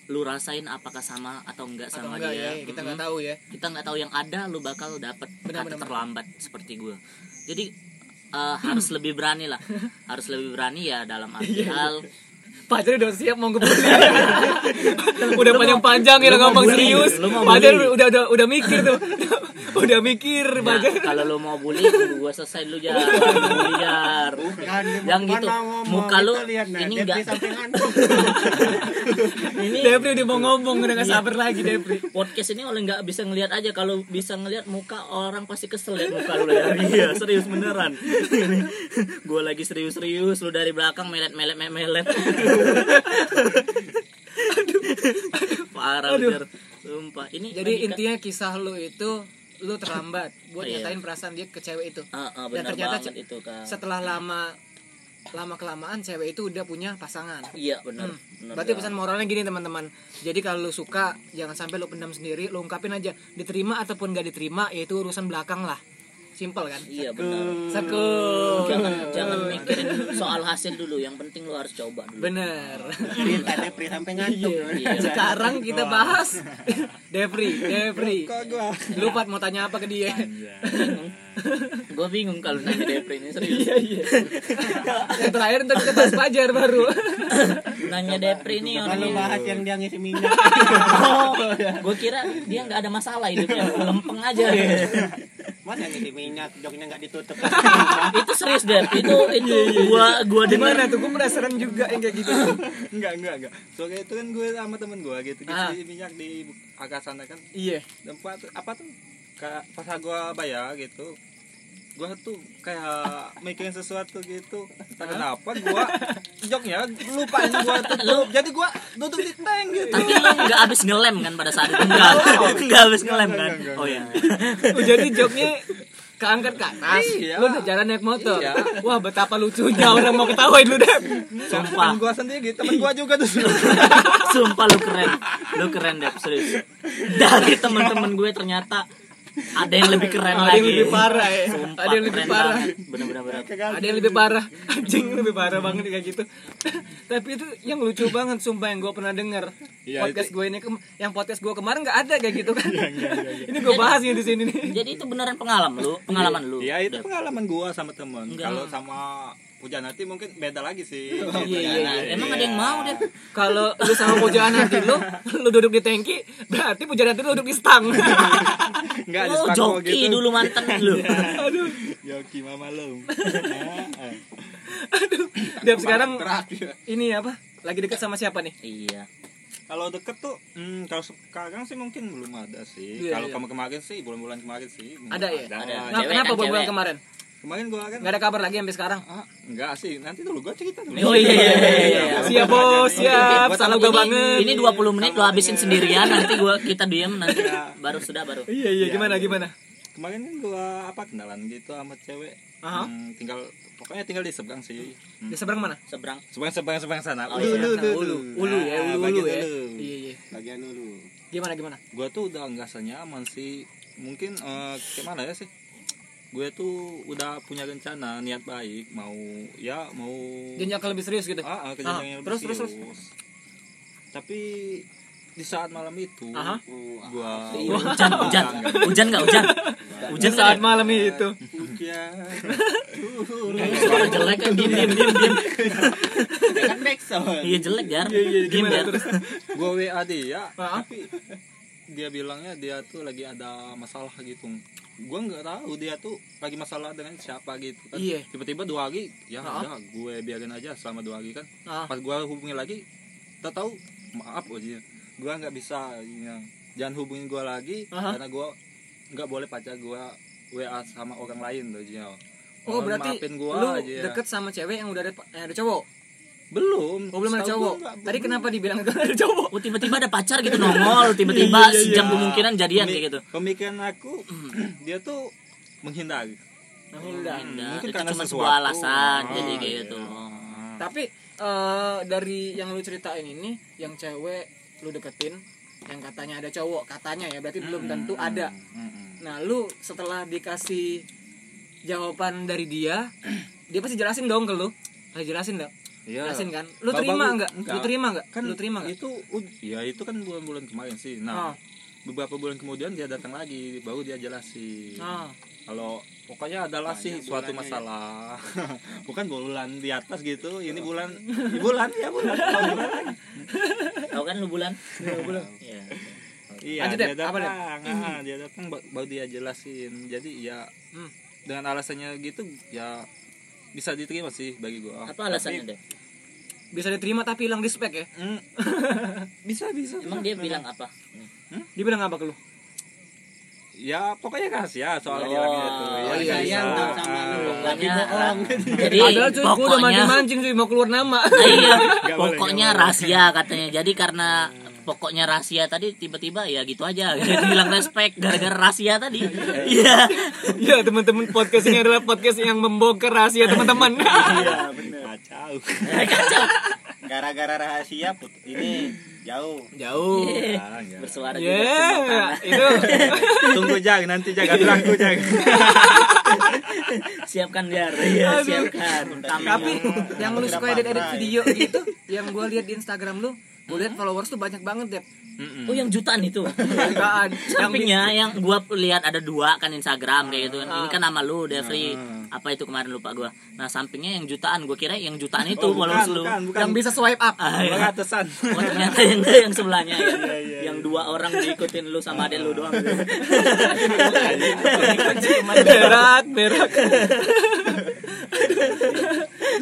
Speaker 2: lu rasain apakah sama atau enggak
Speaker 1: Atau
Speaker 2: sama
Speaker 1: enggak ya,
Speaker 2: dia
Speaker 1: kita nggak
Speaker 2: Mm-mm
Speaker 1: tahu ya.
Speaker 2: kita nggak tahu yang ada lu bakal dapet
Speaker 1: Benar,
Speaker 2: atau
Speaker 1: benar,
Speaker 2: terlambat seperti gue jadi eh, harus lebih berani lah harus lebih berani ya dalam arti
Speaker 1: Iya,
Speaker 2: hal
Speaker 1: Pacar udah siap mau ngebully. udah panjang-panjang ya
Speaker 2: lu mau
Speaker 1: gampang
Speaker 2: bully,
Speaker 1: serius.
Speaker 2: lu mau
Speaker 1: Pacar
Speaker 2: bully.
Speaker 1: udah udah udah mikir tuh. udah mikir
Speaker 2: Nah,
Speaker 1: pacar.
Speaker 2: kalau lu mau bully gue selesai lu jar Bully, Jar. yang gitu muka lu ini enggak ini
Speaker 1: Depri udah mau ngomong udah gak sabar lagi Depri.
Speaker 2: podcast ini oleh nggak bisa ngelihat aja kalau bisa ngelihat muka orang pasti kesel lihat muka lu ya iya serius beneran gue lagi serius-serius lu dari belakang melet melet melet melet parah
Speaker 1: Aduh.
Speaker 2: bener sumpah ini
Speaker 1: Jadi
Speaker 2: bagi-
Speaker 1: intinya kisah lu itu lu terlambat buat
Speaker 2: Iya.
Speaker 1: nyatain perasaan dia ke cewek itu.
Speaker 2: Ah, ah,
Speaker 1: Dan
Speaker 2: bener
Speaker 1: ternyata
Speaker 2: banget
Speaker 1: ce-
Speaker 2: itu kak
Speaker 1: Setelah lama lama kelamaan cewek itu udah punya pasangan.
Speaker 2: iya bener, bener
Speaker 1: Hmm. Berarti
Speaker 2: Kak.
Speaker 1: pesan moralnya gini teman-teman. Jadi kalau lu suka jangan sampai lu pendam sendiri, lu ungkapin aja. Diterima ataupun gak diterima yaitu urusan belakang lah. Simpel kan?
Speaker 2: iya bener
Speaker 1: Saku.
Speaker 2: jangan jangan mikirin soal hasil dulu yang penting lu harus coba dulu
Speaker 1: Bener.
Speaker 3: Tadi pri sampai
Speaker 2: Iya,
Speaker 3: ngantuk.
Speaker 1: Sekarang kita bahas Depri, Depri.
Speaker 4: Kok gua
Speaker 1: Lupa mau tanya apa ke dia.
Speaker 2: gue bingung kalau nanya depri ini serius
Speaker 1: Yang terakhir ntar kita bahas pajar baru.
Speaker 2: nanya depri ini
Speaker 3: Kalau
Speaker 2: orangnya
Speaker 3: bahas yang dia ngisi minyak.
Speaker 2: gue kira dia nggak ada masalah hidupnya lempeng aja
Speaker 3: Mana yang ngisi minyak, joknya nggak ditutup.
Speaker 2: itu serius deh itu itu gua gua dengar
Speaker 1: Gimana tuh? Gue penasaran juga yang kayak gitu.
Speaker 4: enggak enggak enggak. Soalnya itu kan gue sama temen gue gitu gitu
Speaker 1: Ah.
Speaker 4: minyak di Akasana kan
Speaker 1: Iya.
Speaker 4: tempat apa tuh kayak pas gua bayar gitu gua tuh kayak mikirin sesuatu gitu entah kenapa gua joknya lupa ini gua tutup jadi gua tutup di tank gitu
Speaker 2: tapi lu nggak habis ngelem kan pada saat itu nggak nggak habis ngelem kan oh ya
Speaker 1: Oh, Jadi joknya keangkat ke atas.
Speaker 4: Iya.
Speaker 1: Lu udah jalan naik motor.
Speaker 4: Iya.
Speaker 1: Wah, betapa lucunya orang mau ketawain lu, Dep.
Speaker 2: sumpah
Speaker 4: temen gua sendiri gitu temen gua juga tuh
Speaker 2: sumpah lu keren lu keren deh serius dari teman-teman gue ternyata ada yang lebih keren
Speaker 1: Ada
Speaker 2: lagi
Speaker 1: yang lebih parah ya.
Speaker 2: Sumpah,
Speaker 1: Ada yang lebih
Speaker 2: keren
Speaker 1: parah.
Speaker 2: banget. bener-bener bener.
Speaker 1: Ada yang lebih parah. Anjing lebih parah banget kayak gitu. Tapi itu yang lucu banget sumpah yang gue pernah denger.
Speaker 4: Iya,
Speaker 1: podcast gue ini kem- yang podcast gue kemarin nggak ada kayak gitu kan.
Speaker 2: Iya,
Speaker 1: Ini gue bahas nih di sini nih.
Speaker 2: jadi itu beneran pengalaman lu pengalaman lu
Speaker 4: ya itu
Speaker 2: Dep.
Speaker 4: pengalaman gua sama temen
Speaker 2: Enggak. Oh,
Speaker 4: kalau sama hujan hati mungkin beda lagi sih Gitu kan.
Speaker 1: Iya, iya, iya.
Speaker 2: emang ada yang mau deh
Speaker 1: Kalau lu sama pujaan hati lu, lu duduk di tangki, berarti pujaan hati lu duduk di stang.
Speaker 4: enggak ada
Speaker 2: lu
Speaker 4: sepakbo
Speaker 2: Oh, joki
Speaker 4: gitu
Speaker 2: dulu mantan lu
Speaker 1: Aduh,
Speaker 4: joki mama lu
Speaker 1: aduh. Dep sekarang
Speaker 4: Kerak, ya.
Speaker 1: ini apa? Lagi deket sama siapa nih?
Speaker 2: iya
Speaker 4: kalau deket tuh hmm, kalau sekarang sih mungkin belum ada sih
Speaker 1: Iya, iya.
Speaker 4: kalau kemarin kemarin sih bulan-bulan kemarin sih
Speaker 1: Ada ya?
Speaker 4: ada,
Speaker 2: Ada.
Speaker 1: Nah,
Speaker 2: Cewek
Speaker 1: kenapa
Speaker 2: kan,
Speaker 1: bulan-bulan
Speaker 2: cewek.
Speaker 1: kemarin?
Speaker 4: kemarin gua kan
Speaker 1: Gak ada kabar lagi sampai sekarang.
Speaker 4: ah, enggak sih nanti dulu gua cerita dulu
Speaker 2: Oh, iya, iya, iya, iya, iya.
Speaker 1: Siap bos, siap.
Speaker 2: Buat
Speaker 1: Salam
Speaker 2: sama
Speaker 1: gue
Speaker 2: ini-
Speaker 1: banget.
Speaker 2: Ini 20 menit lo habisin sendirian nanti gua kita diem nanti baru sudah baru.
Speaker 1: Iya iya gimana gimana?
Speaker 4: kemarin kan gua apa kenalan gitu sama cewek
Speaker 1: Aha.
Speaker 4: Hmm, tinggal pokoknya tinggal di seberang sih
Speaker 1: Di seberang mana?
Speaker 2: Seberang.
Speaker 4: seberang seberang seberang sana
Speaker 2: Oh,
Speaker 4: Ulu,
Speaker 2: iya.
Speaker 4: ulu, ulu,
Speaker 1: Ulu,
Speaker 4: ulu.
Speaker 1: ulu ya,
Speaker 4: Nah,
Speaker 1: ulu, ulu
Speaker 4: bagian
Speaker 1: ya.
Speaker 4: ulu.
Speaker 1: Iya iya.
Speaker 3: Bagian dulu.
Speaker 1: Gimana gimana?
Speaker 4: gua tuh udah nggak senyaman sih mungkin eh, gimana ya sih gue tuh udah punya rencana niat baik mau ya mau
Speaker 1: Jenjang ke lebih serius gitu.
Speaker 4: ah, ah, ke
Speaker 1: Ah,
Speaker 4: jenjang yang lebih
Speaker 1: terus, terus, terus.
Speaker 4: serius. tapi di saat malam itu
Speaker 1: Aha.
Speaker 4: gua Iya,
Speaker 2: Hujan, hujan. Hujan enggak hujan?
Speaker 1: Hujan saat malam itu.
Speaker 2: Suara jelek kan diem diem diem diem.
Speaker 3: kan backsound
Speaker 2: Iya jelek gar.
Speaker 1: Iya iya
Speaker 2: Diem
Speaker 1: gimana
Speaker 2: gar.
Speaker 1: terus?
Speaker 4: gua WA dia
Speaker 1: Maaf.
Speaker 4: tapi dia bilangnya dia tuh lagi ada masalah gitu gua nggak tahu dia tuh lagi masalah dengan siapa gitu kan
Speaker 1: Iya.
Speaker 4: tiba-tiba dua hari ya
Speaker 1: Ah.
Speaker 4: udah gue biarin aja selama dua hari kan
Speaker 1: Ah.
Speaker 4: pas gua hubungi lagi tak tahu maaf Oji gua nggak bisa ya. jangan hubungin gua lagi
Speaker 1: Aha.
Speaker 4: karena gua nggak boleh pacar gua WA sama orang lain tuh Ji.
Speaker 1: Oh
Speaker 4: Orang
Speaker 1: berarti
Speaker 4: maafin gua
Speaker 1: lu
Speaker 4: aja ya.
Speaker 1: deket sama cewek yang udah ada, yang ada cowok?
Speaker 4: belum
Speaker 1: Oh belum ada
Speaker 4: Setahu
Speaker 1: cowok.
Speaker 4: gua nggak-
Speaker 1: Tadi
Speaker 4: belum.
Speaker 1: kenapa dibilang itu ada cowok?
Speaker 2: Oh tiba-tiba ada pacar gitu nongol, tiba-tiba
Speaker 4: Iya, iya,
Speaker 2: sejam
Speaker 4: iya.
Speaker 2: kemungkinan jadian
Speaker 4: Pemi-
Speaker 2: kayak gitu.
Speaker 4: pemikiran aku dia tuh menghindari
Speaker 1: Alhamdulillah.
Speaker 2: Nah,
Speaker 4: Hmm, Mungkin
Speaker 2: itu
Speaker 4: karena
Speaker 2: cuma
Speaker 4: sesuatu.
Speaker 2: sebuah alasan
Speaker 4: Ah,
Speaker 2: jadi kayak
Speaker 4: iya.
Speaker 2: gitu.
Speaker 1: Tapi eh, dari yang lu ceritain ini, yang cewek lu deketin, yang katanya ada cowok, katanya ya berarti belum tentu
Speaker 4: Hmm,
Speaker 1: ada. Nah lu setelah dikasih jawaban dari dia, dia pasti jelasin dong ke lu. Pasti jelasin dong.
Speaker 4: Iya.
Speaker 1: Jelasin kan. Lu
Speaker 4: Bapak
Speaker 1: terima
Speaker 4: lu-
Speaker 1: nggak? Lu
Speaker 4: enggak.
Speaker 1: terima nggak?
Speaker 4: kan
Speaker 1: Lu terima nggak?
Speaker 4: itu u- ya itu kan bulan-bulan kemarin sih
Speaker 1: Ah.
Speaker 4: nah beberapa bulan kemudian dia datang lagi baru dia jelasin
Speaker 2: Ah.
Speaker 1: Nah,
Speaker 4: kalau pokoknya
Speaker 2: Nah,
Speaker 4: adalah
Speaker 2: iya,
Speaker 4: sih
Speaker 3: Banyak
Speaker 4: suatu
Speaker 2: ya.
Speaker 3: bulannya
Speaker 4: masalah bukan bulan di atas gitu ini
Speaker 2: Oh.
Speaker 4: bulan bulan ya bulan
Speaker 2: Tahu kan lu bulan? Iya.
Speaker 4: iya
Speaker 1: Lanjut,
Speaker 4: dia
Speaker 1: Dep. Apa,
Speaker 4: datang
Speaker 1: Dep?
Speaker 4: ah, dia datang ba- baru dia jelasin jadi ya
Speaker 1: Hmm.
Speaker 4: dengan alasannya gitu ya bisa diterima sih bagi gua
Speaker 2: Apa alasannya deh?
Speaker 1: bisa diterima tapi hilang respect ya.
Speaker 4: Hmm. bisa bisa
Speaker 2: Emang dia bilang apa?
Speaker 1: Dia bilang apa ke lu?
Speaker 4: ya pokoknya rahasia soal
Speaker 2: Oh,
Speaker 4: hilangnya itu
Speaker 1: oh,
Speaker 4: ya, bisa.
Speaker 1: iya,
Speaker 3: sayang sama lu
Speaker 2: Pokoknya jadi
Speaker 1: Padahal cuy, gua udah
Speaker 2: pokoknya
Speaker 1: mancing-mancing cuy mau keluar nama.
Speaker 2: Ah, iya,
Speaker 4: Nggak boleh,
Speaker 2: pokoknya
Speaker 4: nggak
Speaker 2: rahasia katanya. Jadi karena pokoknya rahasia tadi tiba-tiba ya gitu aja. Jadi hilang respect gara-gara rahasia tadi. Iya.
Speaker 1: ya teman-teman podcast ini adalah podcast yang membongkar rahasia teman-teman.
Speaker 3: iya bener
Speaker 4: kacau
Speaker 3: gara-gara rahasia put ini jauh
Speaker 1: Jauh.
Speaker 4: Ya, ya.
Speaker 2: Bersuara
Speaker 1: Ya,
Speaker 2: juga.
Speaker 1: itu
Speaker 4: tunggu jag nanti jaga bilangku jag
Speaker 2: Siapkan biar. Iya, siapkan.
Speaker 1: tapi yang lu
Speaker 3: Tidak
Speaker 1: suka edit edit
Speaker 3: pandai.
Speaker 1: video gitu, yang gue lihat di Instagram lu, gue
Speaker 2: Hmm?
Speaker 1: lihat followers tuh banyak banget deh.
Speaker 2: Oh yang jutaan itu.
Speaker 1: Jutaan. Yang
Speaker 2: Sampingnya yang gua lihat ada dua kan Instagram kayak gitu. Ini
Speaker 4: Ah.
Speaker 2: kan nama lu Devri. Apa itu kemarin lupa gua. Nah, sampingnya yang jutaan gua kira yang jutaan itu
Speaker 4: Oh, bukan,
Speaker 2: followers lu.
Speaker 4: bukan, bukan.
Speaker 1: yang bisa swipe up.
Speaker 2: Ah, iya.
Speaker 4: ratusan
Speaker 2: Oh, ternyata yang yang sebelahnya ya. yang dua orang diikutin lu sama adek lu doang.
Speaker 1: kan berat, berat.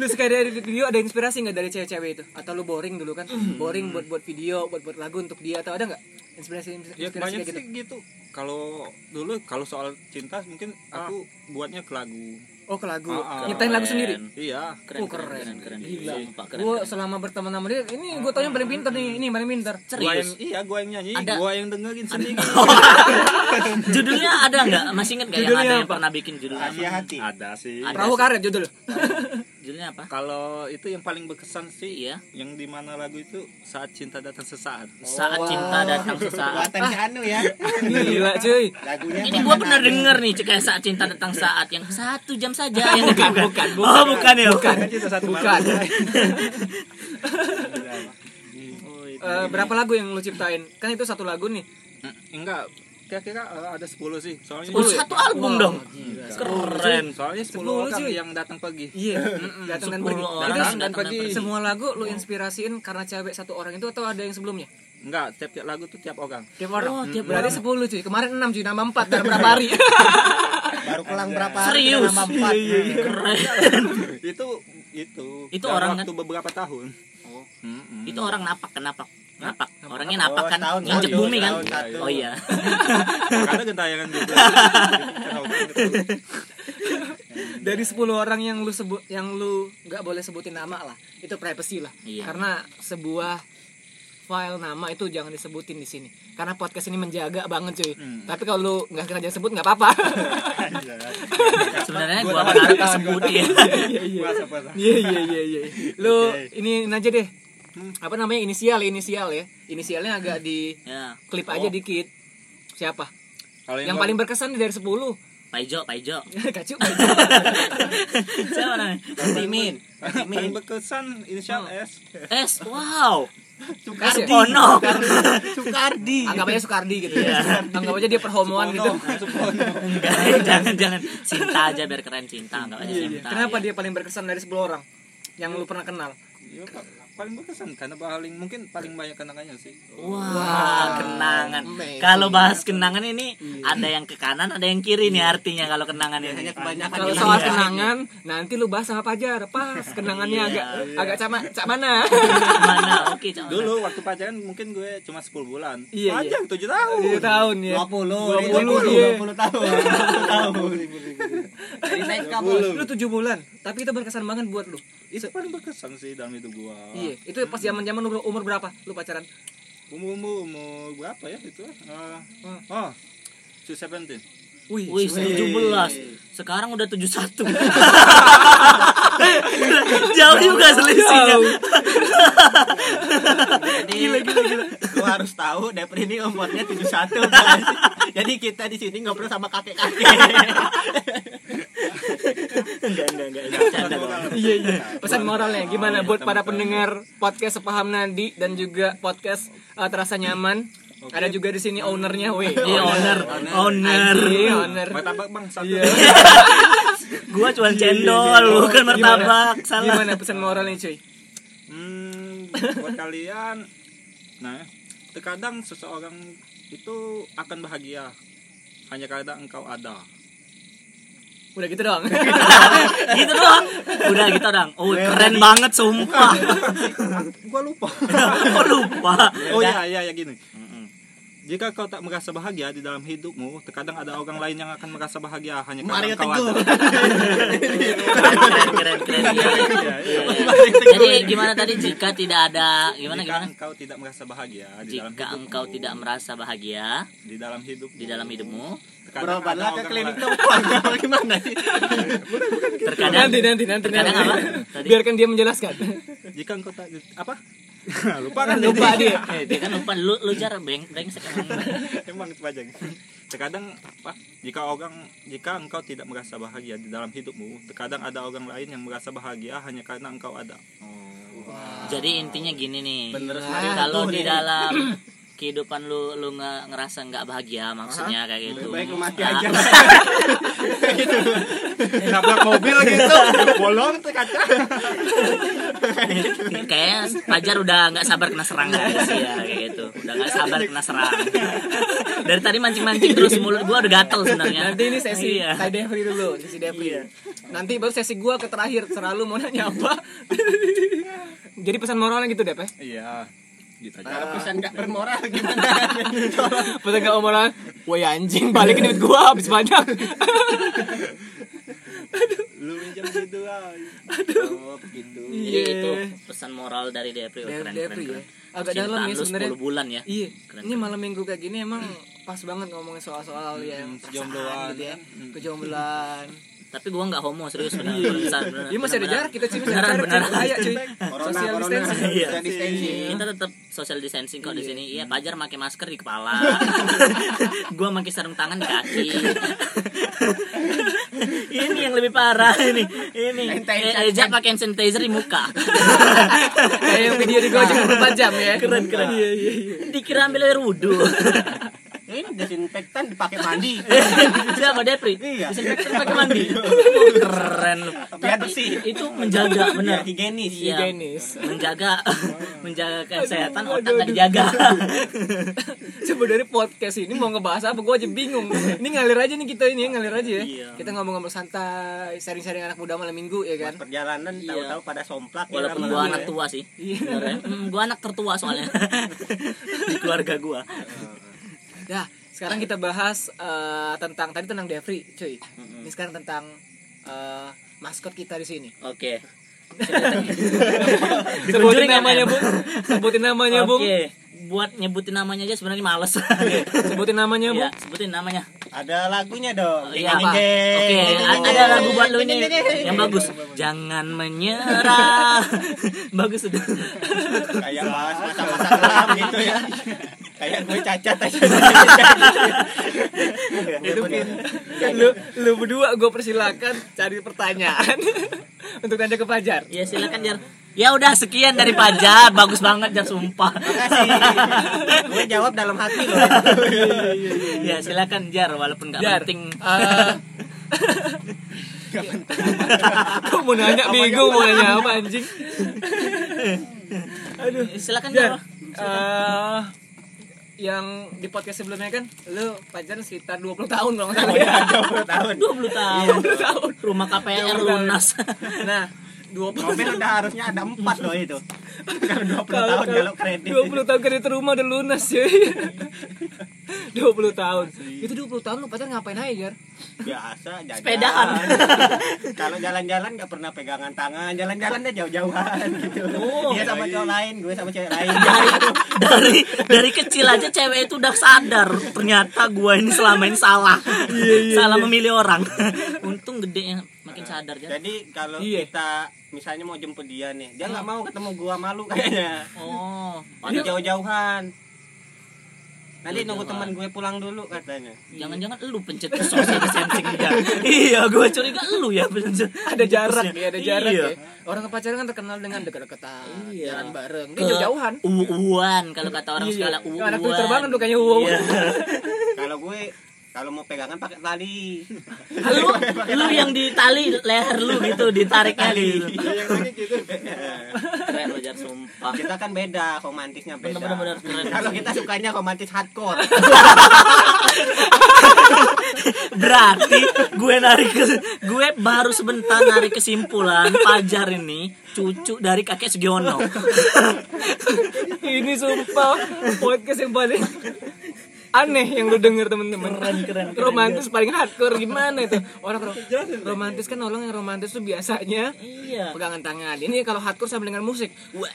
Speaker 1: lu suka edit edit video ada inspirasi nggak dari cewek-cewek itu? Atau lu boring dulu kan?
Speaker 2: Hmm.
Speaker 1: Boring buat buat video, buat buat lagu untuk dia atau ada nggak? Inspirasi
Speaker 4: ya
Speaker 1: inspirasi
Speaker 4: banyak
Speaker 1: kayak gitu.
Speaker 4: sih gitu kalau dulu kalau soal cinta mungkin aku buatnya ke lagu
Speaker 1: Oh ke lagu,
Speaker 4: Ah, ah.
Speaker 1: nyiptain lagu sendiri.
Speaker 4: iya
Speaker 1: Oh,
Speaker 2: Keren,
Speaker 1: keren.
Speaker 2: keren, keren.
Speaker 1: Gila.
Speaker 2: Sumpah, keren,
Speaker 1: Gue
Speaker 2: keren.
Speaker 1: selama berteman sama dia, ini gue tau yang paling pinter nih, ini yang paling pinter.
Speaker 4: gua yang
Speaker 2: Serius.
Speaker 4: iya gua yang nyanyi
Speaker 2: Ada-
Speaker 4: gua yang dengerin sendiri
Speaker 2: Judulnya ada nggak? Masih inget nggak yang
Speaker 1: Judulnya
Speaker 2: ada yang
Speaker 1: apa?
Speaker 2: pernah bikin judulnya?
Speaker 3: rahasia hati
Speaker 4: ada sih
Speaker 2: Ada.
Speaker 1: Perahu karet judul.
Speaker 2: Judulnya apa?
Speaker 4: kalau itu yang paling berkesan sih
Speaker 2: Iya.
Speaker 4: yang dimana lagu itu saat cinta datang sesaat
Speaker 2: Saat cinta datang sesaat.
Speaker 3: buatan si Anu ya
Speaker 1: Gila cuy.
Speaker 3: lagunya
Speaker 2: Ini
Speaker 3: Bang
Speaker 2: gua pernah
Speaker 3: Anu.
Speaker 2: denger nih kayak saat cinta datang saat yang satu jam saja. yang bukan, bukan, Oh, bukan ya. Bukan.
Speaker 4: Kan cinta satu
Speaker 1: Bukan.
Speaker 4: malam.
Speaker 1: Eh, berapa lagu yang lu ciptain? Kan itu satu lagu nih.
Speaker 4: enggak kira-kira eh, ada 10 sih soalnya
Speaker 2: Oh, satu album
Speaker 1: Wah,
Speaker 2: dong.
Speaker 1: gila.
Speaker 2: Keren.
Speaker 4: soalnya
Speaker 1: 10
Speaker 4: 10, orang
Speaker 1: cuy.
Speaker 4: yang datang pergi
Speaker 1: Iya, datang dan pergi.
Speaker 2: Sepuluh
Speaker 1: Itu
Speaker 2: orang
Speaker 4: datang
Speaker 2: datang
Speaker 4: dan
Speaker 2: dan
Speaker 4: pergi
Speaker 2: pergi.
Speaker 1: semua lagu lu inspirasiin karena cewek satu orang itu atau ada yang sebelumnya?
Speaker 4: enggak tiap tiap lagu tuh tiap orang
Speaker 1: Tiap orang.
Speaker 2: Oh, tiap
Speaker 1: Berarti 10 cuy. Kemarin 6 cuy, nambah 4 dalam berapa hari?
Speaker 3: baru pulang berapa
Speaker 2: Serius?
Speaker 3: nama empat
Speaker 2: Keren.
Speaker 4: itu itu
Speaker 2: Itu
Speaker 4: Dalam
Speaker 2: orang
Speaker 1: kan?
Speaker 4: waktu beberapa tahun oh
Speaker 2: Itu orang napak kenapa? Napak. Orangnya
Speaker 3: Oh,
Speaker 2: napak kan
Speaker 3: setahun,
Speaker 2: nginjek
Speaker 3: setahun,
Speaker 2: bumi kan.
Speaker 3: setahun,
Speaker 2: Oh iya.
Speaker 4: karena gentayangan gitu
Speaker 1: Iya. Dari 10 orang yang lu sebut yang lu nggak boleh sebutin nama lah. Itu privacy lah.
Speaker 2: Iya.
Speaker 1: Karena sebuah file nama itu jangan disebutin di sini. Karena podcast ini menjaga banget cuy. Tapi kalau lu nggak sengaja sebut nggak apa-apa.
Speaker 2: Sebenarnya gua berharap disebut ya.
Speaker 4: puasa puasa
Speaker 1: Iya iya iya iya. Lu ini aja deh. Apa namanya inisial inisial ya. Inisialnya agak di
Speaker 2: Ya.
Speaker 1: klip aja dikit. Siapa?
Speaker 4: kalau
Speaker 1: Yang paling berkesan dari 10.
Speaker 2: Paijo, Paijo.
Speaker 1: Kacu.
Speaker 2: Siapa namanya?
Speaker 3: Timin
Speaker 1: Oh.
Speaker 4: paling berkesan inisial S
Speaker 2: S. Wow.
Speaker 1: ya?
Speaker 3: Sukardi
Speaker 2: Kartono.
Speaker 3: Sukardi
Speaker 1: anggap aja Sukardi gitu ya anggap aja dia perhomoan gitu
Speaker 2: Enggak, jangan jangan cinta aja biar keren cinta enggak aja
Speaker 1: Iya, iya.
Speaker 2: cinta
Speaker 1: kenapa dia paling berkesan dari 10 orang yang lu pernah kenal
Speaker 4: Ya, pa- paling berkesan karena paling mungkin paling banyak kenangannya sih.
Speaker 2: Wah,
Speaker 1: Wah,
Speaker 2: kenangan.
Speaker 1: amazing.
Speaker 2: Kalau bahas kenangan ini ada yang ke kanan, ada yang kiri nih artinya kalau kenangan ini.
Speaker 3: Biasanya kebanyakan
Speaker 1: kalau
Speaker 3: Iya.
Speaker 1: soal kenangan nanti lu bahas sama Pajar pas kenangannya
Speaker 2: Iya.
Speaker 1: agak agak cama cak mana
Speaker 2: Mana? Oke, coba.
Speaker 4: Dulu waktu pacaran mungkin gue cuma 10 bulan.
Speaker 1: Iya, iya.
Speaker 4: Panjang 7 tahun.
Speaker 1: Iya, tahun ya 20,
Speaker 3: 20 20
Speaker 1: iya.
Speaker 3: 20 tahun 20 tahun Jadi saya kabur
Speaker 1: lu tujuh bulan tapi itu berkesan banget buat
Speaker 2: Oh.
Speaker 1: lu
Speaker 4: Itu paling berkesan sih dalam hidup gua.
Speaker 1: iya itu pas zaman zaman umur, umur berapa lu pacaran
Speaker 4: Umur umur umur berapa ya itu? Eh,
Speaker 1: Wah.
Speaker 4: oh, 217.
Speaker 1: wih,
Speaker 2: Wih, 17. Sekarang udah 71. Jauh juga selisihnya.
Speaker 3: Jadi Lu harus tahu Depri ini umurnya 71 guys. Jadi kita di sini ngobrol sama kakek-kakek
Speaker 2: Enggak, enggak, enggak. enggak, Bercanda doang.
Speaker 1: iya iya pesan
Speaker 2: Oh,
Speaker 1: moralnya gimana
Speaker 2: iya,
Speaker 1: buat para pendengar podcast sepaham Nadi dan juga podcast eh, terasa nyaman ada juga di sini ownernya weh
Speaker 2: Iya, owner. Owner.
Speaker 1: Anjing, owner
Speaker 4: Martabak Bang satu.
Speaker 1: Iya.
Speaker 2: Gua cuma cendol, bukan
Speaker 1: Gimana?
Speaker 2: martabak. Salah.
Speaker 1: gimana pesan moralnya cuy
Speaker 4: Hmm, buat kalian nah, terkadang seseorang itu akan bahagia hanya karena engkau ada.
Speaker 1: udah gitu doang
Speaker 2: Gitu doang. Udah gitu doang. Oh, keren banget sumpah.
Speaker 4: Gua lupa.
Speaker 2: Kok lupa?
Speaker 4: oh iya iya ya gini.
Speaker 2: Mm-mm.
Speaker 4: Jika kau tak merasa bahagia di dalam hidupmu, terkadang ada orang lain yang akan merasa bahagia hanya karena
Speaker 3: Mario
Speaker 4: engkau
Speaker 3: Teguh
Speaker 4: ada.
Speaker 2: keren keren keren
Speaker 4: Iya, iya.
Speaker 2: jadi gimana tadi jika tidak ada gimana
Speaker 4: Jika
Speaker 2: gimana
Speaker 4: engkau tidak merasa bahagia di dalam
Speaker 2: jika
Speaker 4: hidupmu,
Speaker 2: engkau tidak merasa bahagia
Speaker 4: di dalam hidup
Speaker 2: di dalam hidupmu
Speaker 4: terkadang ada
Speaker 3: Berobatlah ke
Speaker 4: orang
Speaker 3: klinik
Speaker 4: lain-
Speaker 3: teman Gimana sih
Speaker 2: terkadang
Speaker 1: nanti nanti nanti
Speaker 2: terkadang apa
Speaker 1: nanti
Speaker 2: tadi
Speaker 1: biarkan dia menjelaskan
Speaker 4: Jika engkau tak apa? lupa kan
Speaker 1: lupa
Speaker 4: jadi?
Speaker 1: dia
Speaker 2: Eh, dia kan lupa lu lu jar breng brengsek emang.
Speaker 4: Emang itu panjang. Terkadang apa? Jika orang jika engkau tidak merasa bahagia di dalam hidupmu, terkadang ada orang lain yang merasa bahagia hanya karena engkau ada.
Speaker 2: jadi intinya gini nih
Speaker 3: Bener sekali.
Speaker 2: kalau
Speaker 3: Tuh,
Speaker 2: di
Speaker 3: nih.
Speaker 2: dalam kehidupan lu lu nge- ngerasa nggak bahagia maksudnya kayak gitu
Speaker 3: Baik lu mati
Speaker 2: Ah,
Speaker 3: aja
Speaker 4: Nabrak mobil gitu, bolong terkadang.
Speaker 2: kayak Fajar udah nggak sabar kena serang guys ya kayak gitu udah nggak sabar kena serang dari tadi mancing mancing terus mulut gua udah gatel sebenarnya
Speaker 1: nanti ini sesi
Speaker 2: Iya.
Speaker 1: Kai Devri dulu sesi Devri nanti baru sesi gua ke terakhir selalu mau nanya apa jadi pesan moralnya gitu Dep ya
Speaker 4: Iya. Gitu
Speaker 3: Kalau
Speaker 4: aja.
Speaker 3: pesan gak bermoral gimana
Speaker 1: pesan gak moral woi anjing balikin duit gua habis banyak
Speaker 4: Lu minjam gitu lah.
Speaker 3: ah. Oh, begitu
Speaker 2: Jadi itu
Speaker 1: iya
Speaker 2: pesan moral dari Depri. Wah,
Speaker 1: Dari
Speaker 2: keren,
Speaker 1: Depri ya.
Speaker 2: keren, keren.
Speaker 1: Agak
Speaker 2: Cintaan
Speaker 1: dalam ya
Speaker 2: lu
Speaker 1: sebenarnya.
Speaker 2: 10 bulan ya.
Speaker 1: Iya,
Speaker 2: Keren,
Speaker 1: ini malam minggu kayak gini emang pas banget ngomongin soal-soal yang
Speaker 4: kejombloan,
Speaker 1: perasaan gitu Hmm, ya, kejombloan.
Speaker 2: Tapi gua nggak homo serius benar. Benar, benar.
Speaker 1: Ini Iya. masih ada
Speaker 2: Benar,
Speaker 1: jarak kita sih masih ada
Speaker 2: beneran,
Speaker 1: jarak
Speaker 2: beneran.
Speaker 1: jangan bahaya cuy.
Speaker 3: Corona,
Speaker 1: Social
Speaker 3: corona.
Speaker 1: distancing.
Speaker 2: Iya.
Speaker 3: Social distancing.
Speaker 2: Kita tetap social distancing kok di sini. Iya, Pajar pakai masker di kepala. gua pakai sarung tangan di kaki. ini yang lebih parah ini. Ini. Eh, Eja pakai hand sanitizer di muka.
Speaker 1: Kayak yang video di Gojek 4 jam ya.
Speaker 2: Keren, keren.
Speaker 1: Iya iya iya.
Speaker 2: Dikira ambil air wudhu.
Speaker 3: Ya, Ini desinfektan dipakai mandi
Speaker 2: Siapa Depri?
Speaker 3: Iya.
Speaker 2: Disinfektan pakai mandi. Oh, Keren lu.
Speaker 3: Biar bersih
Speaker 2: Itu menjaga benar.
Speaker 3: Biar higienis
Speaker 2: Iya.
Speaker 1: Higienis.
Speaker 2: menjaga menjaga kesehatan otak nggak dijaga
Speaker 1: Sebenarnya podcast ini mau ngebahas apa gua aja bingung. Ini ngalir aja nih kita ini ya, ngalir aja ya.
Speaker 2: Iya.
Speaker 1: Kita ngomong-ngomong santai, sharing-sharing anak muda malam minggu ya kan.
Speaker 3: Perjalanan tahu-tahu pada somplak ya,
Speaker 2: walaupun
Speaker 3: nama
Speaker 2: gua
Speaker 3: gue.
Speaker 2: anak tua sih
Speaker 1: Iya.
Speaker 2: hmm, gua anak tertua soalnya di keluarga gua
Speaker 1: Nah, sekarang kita bahas eh, tentang tadi tentang Devri, cuy. Ini sekarang tentang eh, maskot kita di sini.
Speaker 2: oke
Speaker 1: Sebutin
Speaker 2: Ditunjukin
Speaker 1: namanya,
Speaker 2: MM.
Speaker 1: Bung. Sebutin namanya, Bung.
Speaker 2: oke buat nyebutin namanya aja sebenarnya males
Speaker 1: Sebutin namanya,
Speaker 2: ya
Speaker 1: Bung.
Speaker 2: sebutin namanya
Speaker 3: Ada lagunya dong
Speaker 2: Iya,
Speaker 1: apa?
Speaker 3: Jeng,
Speaker 2: oke
Speaker 3: jeng, jeng,
Speaker 2: a- ada
Speaker 3: jeng,
Speaker 2: lagu buat lu
Speaker 3: jeng,
Speaker 2: ini
Speaker 3: jeng, jeng, jeng.
Speaker 2: yang bagus jangan menyerah bagus sudah
Speaker 4: Iya.
Speaker 3: Kayak bahas masa-masa kelam gitu ya Kayak gue cacat aja
Speaker 1: Itu lu lu berdua gue persilakan cari pertanyaan untuk tanya ke Fajar.
Speaker 2: ya silakan jar Ya udah sekian dari Pajar, bagus banget ya sumpah.
Speaker 3: gue jawab dalam hati loh
Speaker 2: ya silakan Jar Ah. walaupun nggak
Speaker 1: Jar.
Speaker 2: penting.
Speaker 1: Eh, Kok mau nanya bingung mau nanya apa anjing? Aduh.
Speaker 2: Silakan Jar.
Speaker 1: Jar, Iya. eh, yang di podcast sebelumnya kan lu pacaran sekitar 20 tahun kalau nggak salah ya.
Speaker 3: 20 tahun
Speaker 2: 20 tahun.
Speaker 1: 20 tahun.
Speaker 2: Rumah KPR
Speaker 1: 20 tahun.
Speaker 2: lunas.
Speaker 1: Nah, 20
Speaker 3: mobil udah harusnya ada empat loh itu kalau 20
Speaker 1: Kalau-
Speaker 3: tahun kalau kredit
Speaker 1: 20 tahun kredit rumah udah lunas cuy 20 tahun itu 20 tahun lu pacar ngapain aja Jar?
Speaker 3: biasa jajan
Speaker 2: Sepedahan.
Speaker 3: kalau jalan-jalan nggak pernah pegangan tangan jalan-jalan deh jauh-jauhan gitu
Speaker 1: Oh. Iya,
Speaker 3: dia sama cowok lain gue sama cewek lain
Speaker 2: dari dari kecil aja cewek itu udah sadar ternyata gua ini selama ini salah. salah memilih orang. Untung gede ya makin sadar Jar.
Speaker 3: jadi kalau
Speaker 1: Iya.
Speaker 3: kita misalnya mau jemput dia nih dia nggak mau ketemu gua malu kayaknya
Speaker 2: Oh,
Speaker 3: Pada
Speaker 1: Iya.
Speaker 3: jauh-jauhan nanti
Speaker 2: Jauh-jauhan.
Speaker 3: nunggu teman gue pulang dulu katanya
Speaker 2: jangan-jangan lu pencet social distancing Jar. Iya, gua curiga lu ya pencet.
Speaker 1: ada jarak ya ada jarak
Speaker 2: Iya.
Speaker 1: ya orang pacaran kan terkenal dengan dekat-dekatan
Speaker 2: Iya.
Speaker 1: jalan bareng dia
Speaker 2: Ke
Speaker 1: jauh-jauhan
Speaker 2: Uuan kalau kata orang segala
Speaker 1: Iya.
Speaker 2: uuan.
Speaker 1: anak Twitter banget lu kayaknya wow
Speaker 2: Iya.
Speaker 3: kalau gue kalau mau pegangan pakai tali
Speaker 2: lu lu yang ditali leher lu gitu ditariknya gitu
Speaker 1: Iya,
Speaker 3: yang lagi gitu
Speaker 2: keren lo jar sumpah
Speaker 3: kita kan beda romantisnya beda
Speaker 2: Bener-bener, bener-bener.
Speaker 3: kalau kita sukanya romantis hardcore
Speaker 2: berarti gue narik ke- gue baru sebentar narik kesimpulan pajar ini cucu dari kakek Sugiono
Speaker 1: ini sumpah podcast yang paling aneh yang lu denger temen-temen romantis paling
Speaker 2: Iya.
Speaker 1: hardcore gimana itu orang ro- romantis kan orang yang romantis tuh biasanya
Speaker 2: iya
Speaker 1: pegangan tangan ini kalau hardcore sambil dengan musik Wah.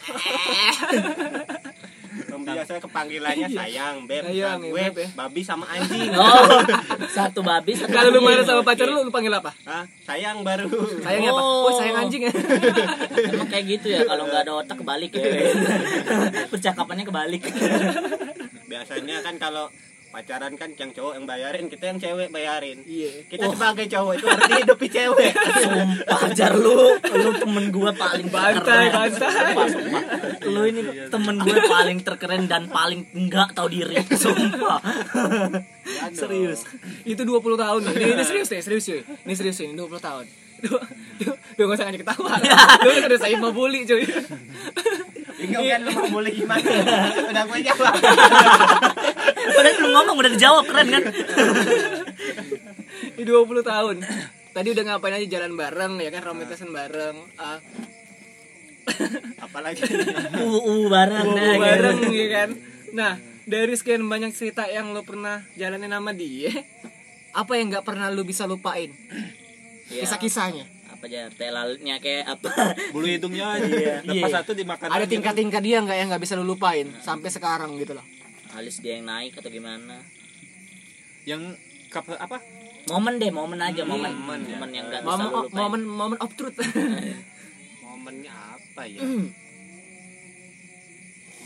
Speaker 3: biasanya kepanggilannya sayang beb
Speaker 1: Sayang,
Speaker 3: sama
Speaker 1: ya,
Speaker 3: gue
Speaker 1: Beb, ya.
Speaker 3: babi sama anjing
Speaker 2: oh satu babi satu
Speaker 1: Kalau lu marah
Speaker 2: anjing.
Speaker 1: sama pacar lu, lu panggil apa?
Speaker 3: Hah? Ah, sayang baru
Speaker 1: Sayang apa?
Speaker 2: Oh.
Speaker 1: Oh, sayang anjing ya.
Speaker 2: emang kayak gitu ya kalau nggak ada otak kebalik ya percakapannya kebalik
Speaker 3: biasanya kan kalau pacaran kan yang cowok yang bayarin kita yang cewek bayarin
Speaker 1: Iya.
Speaker 3: kita sebagai cowok itu harus hidupi cewek
Speaker 2: sumpah jar lu lu temen gue paling
Speaker 1: Bantai,
Speaker 2: keren.
Speaker 1: bantai.
Speaker 2: Sumpah, sumpah. lu ini temen gue paling terkeren dan paling nggak tahu diri sumpah serius
Speaker 1: Oh. Itu 20 tahun nih. Ini, ini serius nih, serius cuy. Ini serius cuy, ini 20 tahun. Duh, duh, duh gak usah ngajak ketawa. Lu udah saya mau bully cuy.
Speaker 3: Bingung kan lu mau boleh gimana udah gue jawab
Speaker 2: padahal belum ngomong udah dijawab keren kan
Speaker 1: Ini 20 tahun. Tadi udah ngapain aja jalan bareng ya kan romantisan bareng. ah,
Speaker 3: apalagi
Speaker 2: uu uh, bareng nah,
Speaker 1: bobo
Speaker 2: gitu.
Speaker 1: bareng ya kan. Nah, dari sekian banyak cerita yang lu pernah jalanin sama dia, apa yang nggak pernah lu bisa lupain? Ya.
Speaker 2: Iya.
Speaker 1: Kisah-kisahnya.
Speaker 2: apa jar telalnya kayak apa
Speaker 4: bulu hidungnya aja lepas
Speaker 2: Iya.
Speaker 4: satu dimakan
Speaker 1: Ada
Speaker 4: lagi.
Speaker 1: tingkat-tingkat dia nggak yang nggak bisa lu lupain sampai sekarang gitu loh.
Speaker 2: alis dia yang naik atau gimana
Speaker 4: yang kap, apa
Speaker 2: momen deh momen aja momen
Speaker 3: momen
Speaker 2: momen,
Speaker 3: ya.
Speaker 2: yang nggak bisa
Speaker 1: Hmm, momen
Speaker 2: lu lupain
Speaker 1: momen momen of truth
Speaker 3: momennya apa ya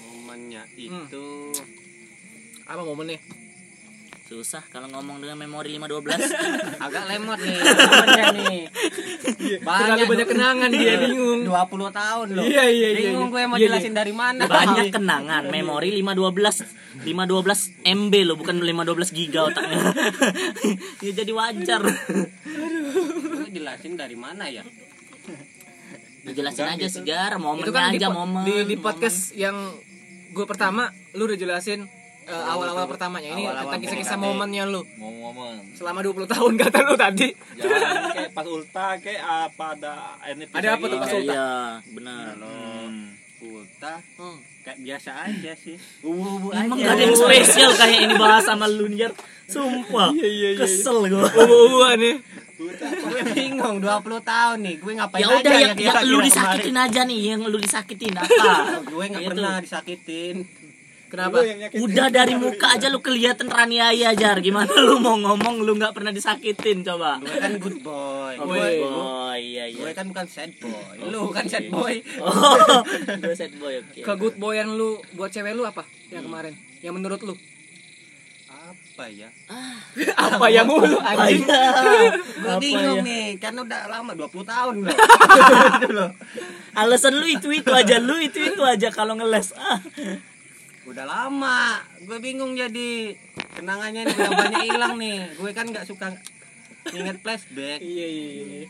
Speaker 3: momennya itu
Speaker 1: apa momennya
Speaker 2: susah kalau ngomong dengan memori 512
Speaker 3: agak lemot nih momennya nih
Speaker 1: Iya, terlalu banyak
Speaker 3: dua-
Speaker 1: kenangan dia bingung
Speaker 3: 20 tahun loh
Speaker 1: Iya, iya, iya,
Speaker 3: bingung
Speaker 1: iya.
Speaker 3: gue mau
Speaker 1: Iya, iya.
Speaker 3: jelasin dari mana
Speaker 2: banyak kenangan memori 512 512 MB loh bukan 512 giga otaknya ya jadi wajar
Speaker 3: gue jelasin dari mana ya
Speaker 2: dijelasin aja sih gar
Speaker 1: itu
Speaker 2: momennya
Speaker 1: kan di,
Speaker 2: aja
Speaker 1: po-
Speaker 2: momen
Speaker 1: di, di
Speaker 2: momen.
Speaker 1: podcast yang gue pertama lu udah jelasin eh, awal-awal pertamanya ini
Speaker 3: Awal-awal
Speaker 1: tentang kisah-kisah
Speaker 3: PDKT.
Speaker 1: momennya lu
Speaker 4: ngomong-ngomong
Speaker 1: selama 20 tahun kata lu tadi
Speaker 4: jangan kayak pas ulta kayak apa ada NFT
Speaker 1: Ada apa tuh pas ulta?
Speaker 2: iya benar
Speaker 3: kalau
Speaker 4: Hmm.
Speaker 3: ulta
Speaker 1: Hmm.
Speaker 3: kayak biasa aja sih ubu ubu
Speaker 2: Emang
Speaker 3: aja
Speaker 2: gak ada yang spesial kayak ini bahas sama lu Nyer. Sumpah.
Speaker 1: Iya, iya, iya.
Speaker 2: Kesel gua.
Speaker 1: ubu-ubuan ya
Speaker 3: Ulta. gue bingung 20 tahun nih gue ngapain
Speaker 2: Ya
Speaker 3: aja
Speaker 2: udah yang, yang lu
Speaker 3: kira-kira kemarin. Ah,
Speaker 2: disakitin Gitu. aja nih, yang lu disakitin apa?
Speaker 3: gue nggak
Speaker 2: Itu.
Speaker 3: pernah disakitin
Speaker 1: kenapa
Speaker 2: Udah dari muka aja lu kelihatan raniaya Jar. Gimana lu mau ngomong lu nggak pernah disakitin coba?
Speaker 3: gue kan good boy
Speaker 2: Oh,
Speaker 1: Woi.
Speaker 2: boy, iya
Speaker 3: gue
Speaker 2: iya.
Speaker 3: kan bukan sad boy lu kan sad boy
Speaker 2: Oh, gue sad boy oke.
Speaker 1: ke good boy yang lu buat cewek lu apa yang kemarin yang menurut lu
Speaker 3: apa
Speaker 4: apa ya
Speaker 1: apa yang mulu
Speaker 2: Oh,
Speaker 1: anjing
Speaker 2: iya.
Speaker 3: Gue
Speaker 2: Apa
Speaker 3: bingung
Speaker 2: ya?
Speaker 3: nih, kan udah lama 20 tahun loh. Gitu loh.
Speaker 2: alasan lu itu itu aja lu itu itu aja kalau ngeles ah
Speaker 3: Udah lama, gue bingung jadi kenangannya ini udah banyak hilang nih. Gue kan nggak suka inget flashback.
Speaker 1: iya iya iya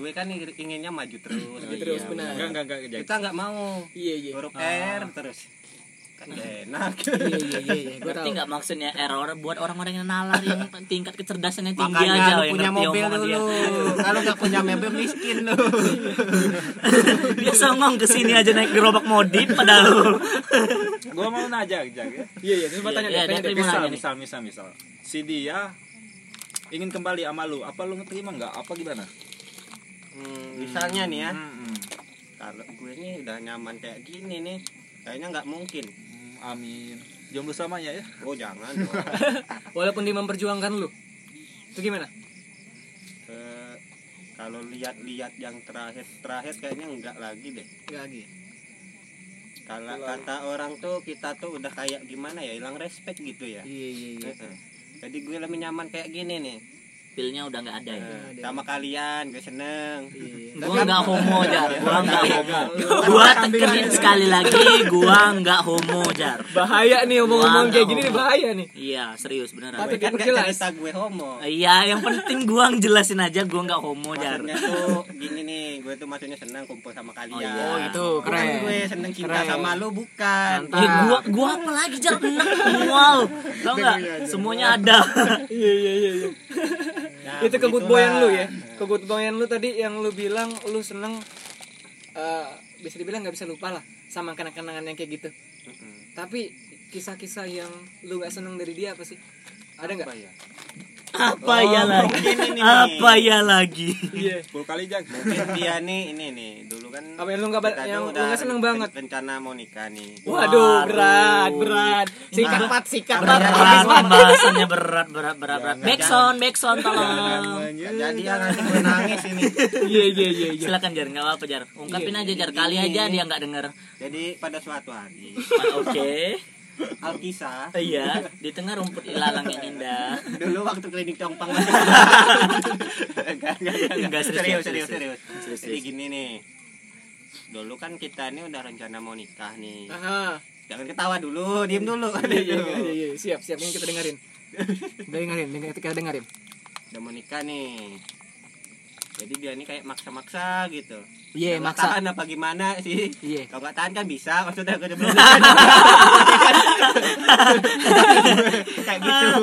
Speaker 3: Gue kan ing- inginnya maju terus.
Speaker 1: Maju terus,
Speaker 3: Iya,
Speaker 1: benar.
Speaker 4: enggak enggak enggak jadi
Speaker 3: Kita nggak mau
Speaker 1: iya iya
Speaker 3: huruf
Speaker 4: Ah.
Speaker 3: R terus. Kan nggak enak.
Speaker 1: iya iya iya iya gue
Speaker 2: ngerti
Speaker 1: tahu
Speaker 2: nggak maksudnya error buat orang-orang yang nalar yang tingkat kecerdasannya tinggi aja
Speaker 3: Makanya lu
Speaker 2: yang
Speaker 3: punya
Speaker 2: ngerti
Speaker 3: mobil
Speaker 2: omongan
Speaker 3: dulu. Kalau nggak punya mobil miskin lu.
Speaker 2: dia dia songong kesini aja naik gerobak modif padahal
Speaker 4: gua mau nanya aja ya
Speaker 1: iya iya terus gua
Speaker 2: Iya,
Speaker 1: tanya
Speaker 2: iya,
Speaker 1: deh tanya deh
Speaker 2: dia terima.
Speaker 1: Bisa.
Speaker 4: misal
Speaker 2: nih?
Speaker 4: misal misal misal si dia ingin kembali sama lu apa lu ngeterima nggak apa gimana
Speaker 3: Hmm, misalnya nih ya,
Speaker 4: Hmm,
Speaker 3: kalau gue nih udah nyaman kayak gini nih, kayaknya nggak mungkin.
Speaker 4: hmm, amin jomblo selamanya ya
Speaker 3: Oh jangan. dong.
Speaker 1: walaupun dia memperjuangkan lu itu gimana
Speaker 3: Eh, kalau lihat-lihat yang terakhir-terakhir kayaknya enggak lagi deh.
Speaker 1: nggak lagi ya?
Speaker 3: Kalau kata orang tuh kita tuh udah kayak gimana ya, hilang respect gitu ya.
Speaker 1: iya iya iya
Speaker 3: Heeh. Jadi gue lebih nyaman kayak gini nih.
Speaker 2: pilnya udah nggak ada ya
Speaker 3: Eh, sama kalian, gue seneng.
Speaker 1: Iya.
Speaker 2: gua nggak homo jar gua nggak homo gua tekenin sekali lagi gua nggak homo jar
Speaker 1: bahaya nih omong-omong
Speaker 2: Wah,
Speaker 1: kayak gini
Speaker 2: nggak
Speaker 1: nih
Speaker 2: homo.
Speaker 1: bahaya nih
Speaker 2: iya serius beneran
Speaker 3: Gue kan gak
Speaker 1: diperjelas.
Speaker 3: cerita gue homo.
Speaker 2: Iya, yang penting gua ngejelasin aja gua nggak homo jar.
Speaker 3: Maksudnya tuh gini nih, gue tuh maksudnya seneng kumpul sama
Speaker 2: Oh,
Speaker 3: kalian.
Speaker 2: iya.
Speaker 1: oh gitu
Speaker 3: Bukan
Speaker 1: keren
Speaker 3: gue seneng cinta
Speaker 1: Keren.
Speaker 3: sama lu bukan.
Speaker 1: Mantap.
Speaker 2: Ya, gua gua apa lagi jar enak mual. Tau nggak? Semuanya ada.
Speaker 1: iya iya iya iya.
Speaker 3: Nah,
Speaker 1: itu
Speaker 3: begitulah.
Speaker 1: kegut boyan lu ya kegut boyan lu tadi yang lu bilang lu seneng eh, bisa dibilang nggak bisa lupa lah sama kenang-kenangan yang kayak gitu
Speaker 3: Mm-mm.
Speaker 1: tapi kisah-kisah yang lu nggak seneng dari dia apa sih ada nggak
Speaker 3: Apa ya?
Speaker 2: Apa ya
Speaker 3: Oh,
Speaker 2: lagi?
Speaker 3: ini nih.
Speaker 2: Apa ya lagi?
Speaker 1: iya
Speaker 4: 10 kali jaga
Speaker 3: Mungkin dia nih ini nih dulu kan
Speaker 1: Apa yang lu nggak ba-
Speaker 3: kita
Speaker 1: yang
Speaker 3: tuh
Speaker 1: lu
Speaker 3: udah
Speaker 1: nggak seneng
Speaker 3: ren-
Speaker 1: banget?
Speaker 3: rencana mau nikah nih
Speaker 1: waduh
Speaker 2: Waduh.
Speaker 1: berat berat sikat pat sikat pat
Speaker 2: Berat
Speaker 1: habis pat
Speaker 2: pembahasannya berat berat berat berat. Back sound, back sound tolong.
Speaker 3: Nggak jadi ya nanti gue nangis ini
Speaker 1: iya iya iya iya
Speaker 2: Silakan jar, nggak apa-apa jar. Ungkapin aja jar kali aja dia nggak denger.
Speaker 3: jadi pada suatu hari
Speaker 2: Ah, Oke.
Speaker 3: Alkisah
Speaker 2: Iya, di tengah rumput ilalang yang indah.
Speaker 3: dulu waktu klinik compang masih- Nggak, nggak, nggak,
Speaker 2: Nggak,
Speaker 3: nggak.
Speaker 2: serius,
Speaker 3: serius
Speaker 2: serius,
Speaker 3: serius
Speaker 2: serius.
Speaker 3: serius jadi gini nih dulu kan kita ini udah rencana mau nikah nih
Speaker 1: Aha.
Speaker 3: jangan ketawa dulu diem dulu
Speaker 1: iya Ah. iya iya, iya siap siap ini kita dengerin dengerin dengerin kita dengerin
Speaker 3: udah mau nikah nih jadi dia ini kayak maksa-maksa gitu
Speaker 1: iya
Speaker 3: Nggak
Speaker 1: maksa
Speaker 3: tahan apa gimana sih
Speaker 1: iya
Speaker 3: kalau nggak tahan kan bisa maksudnya gue udah belum kayak gitu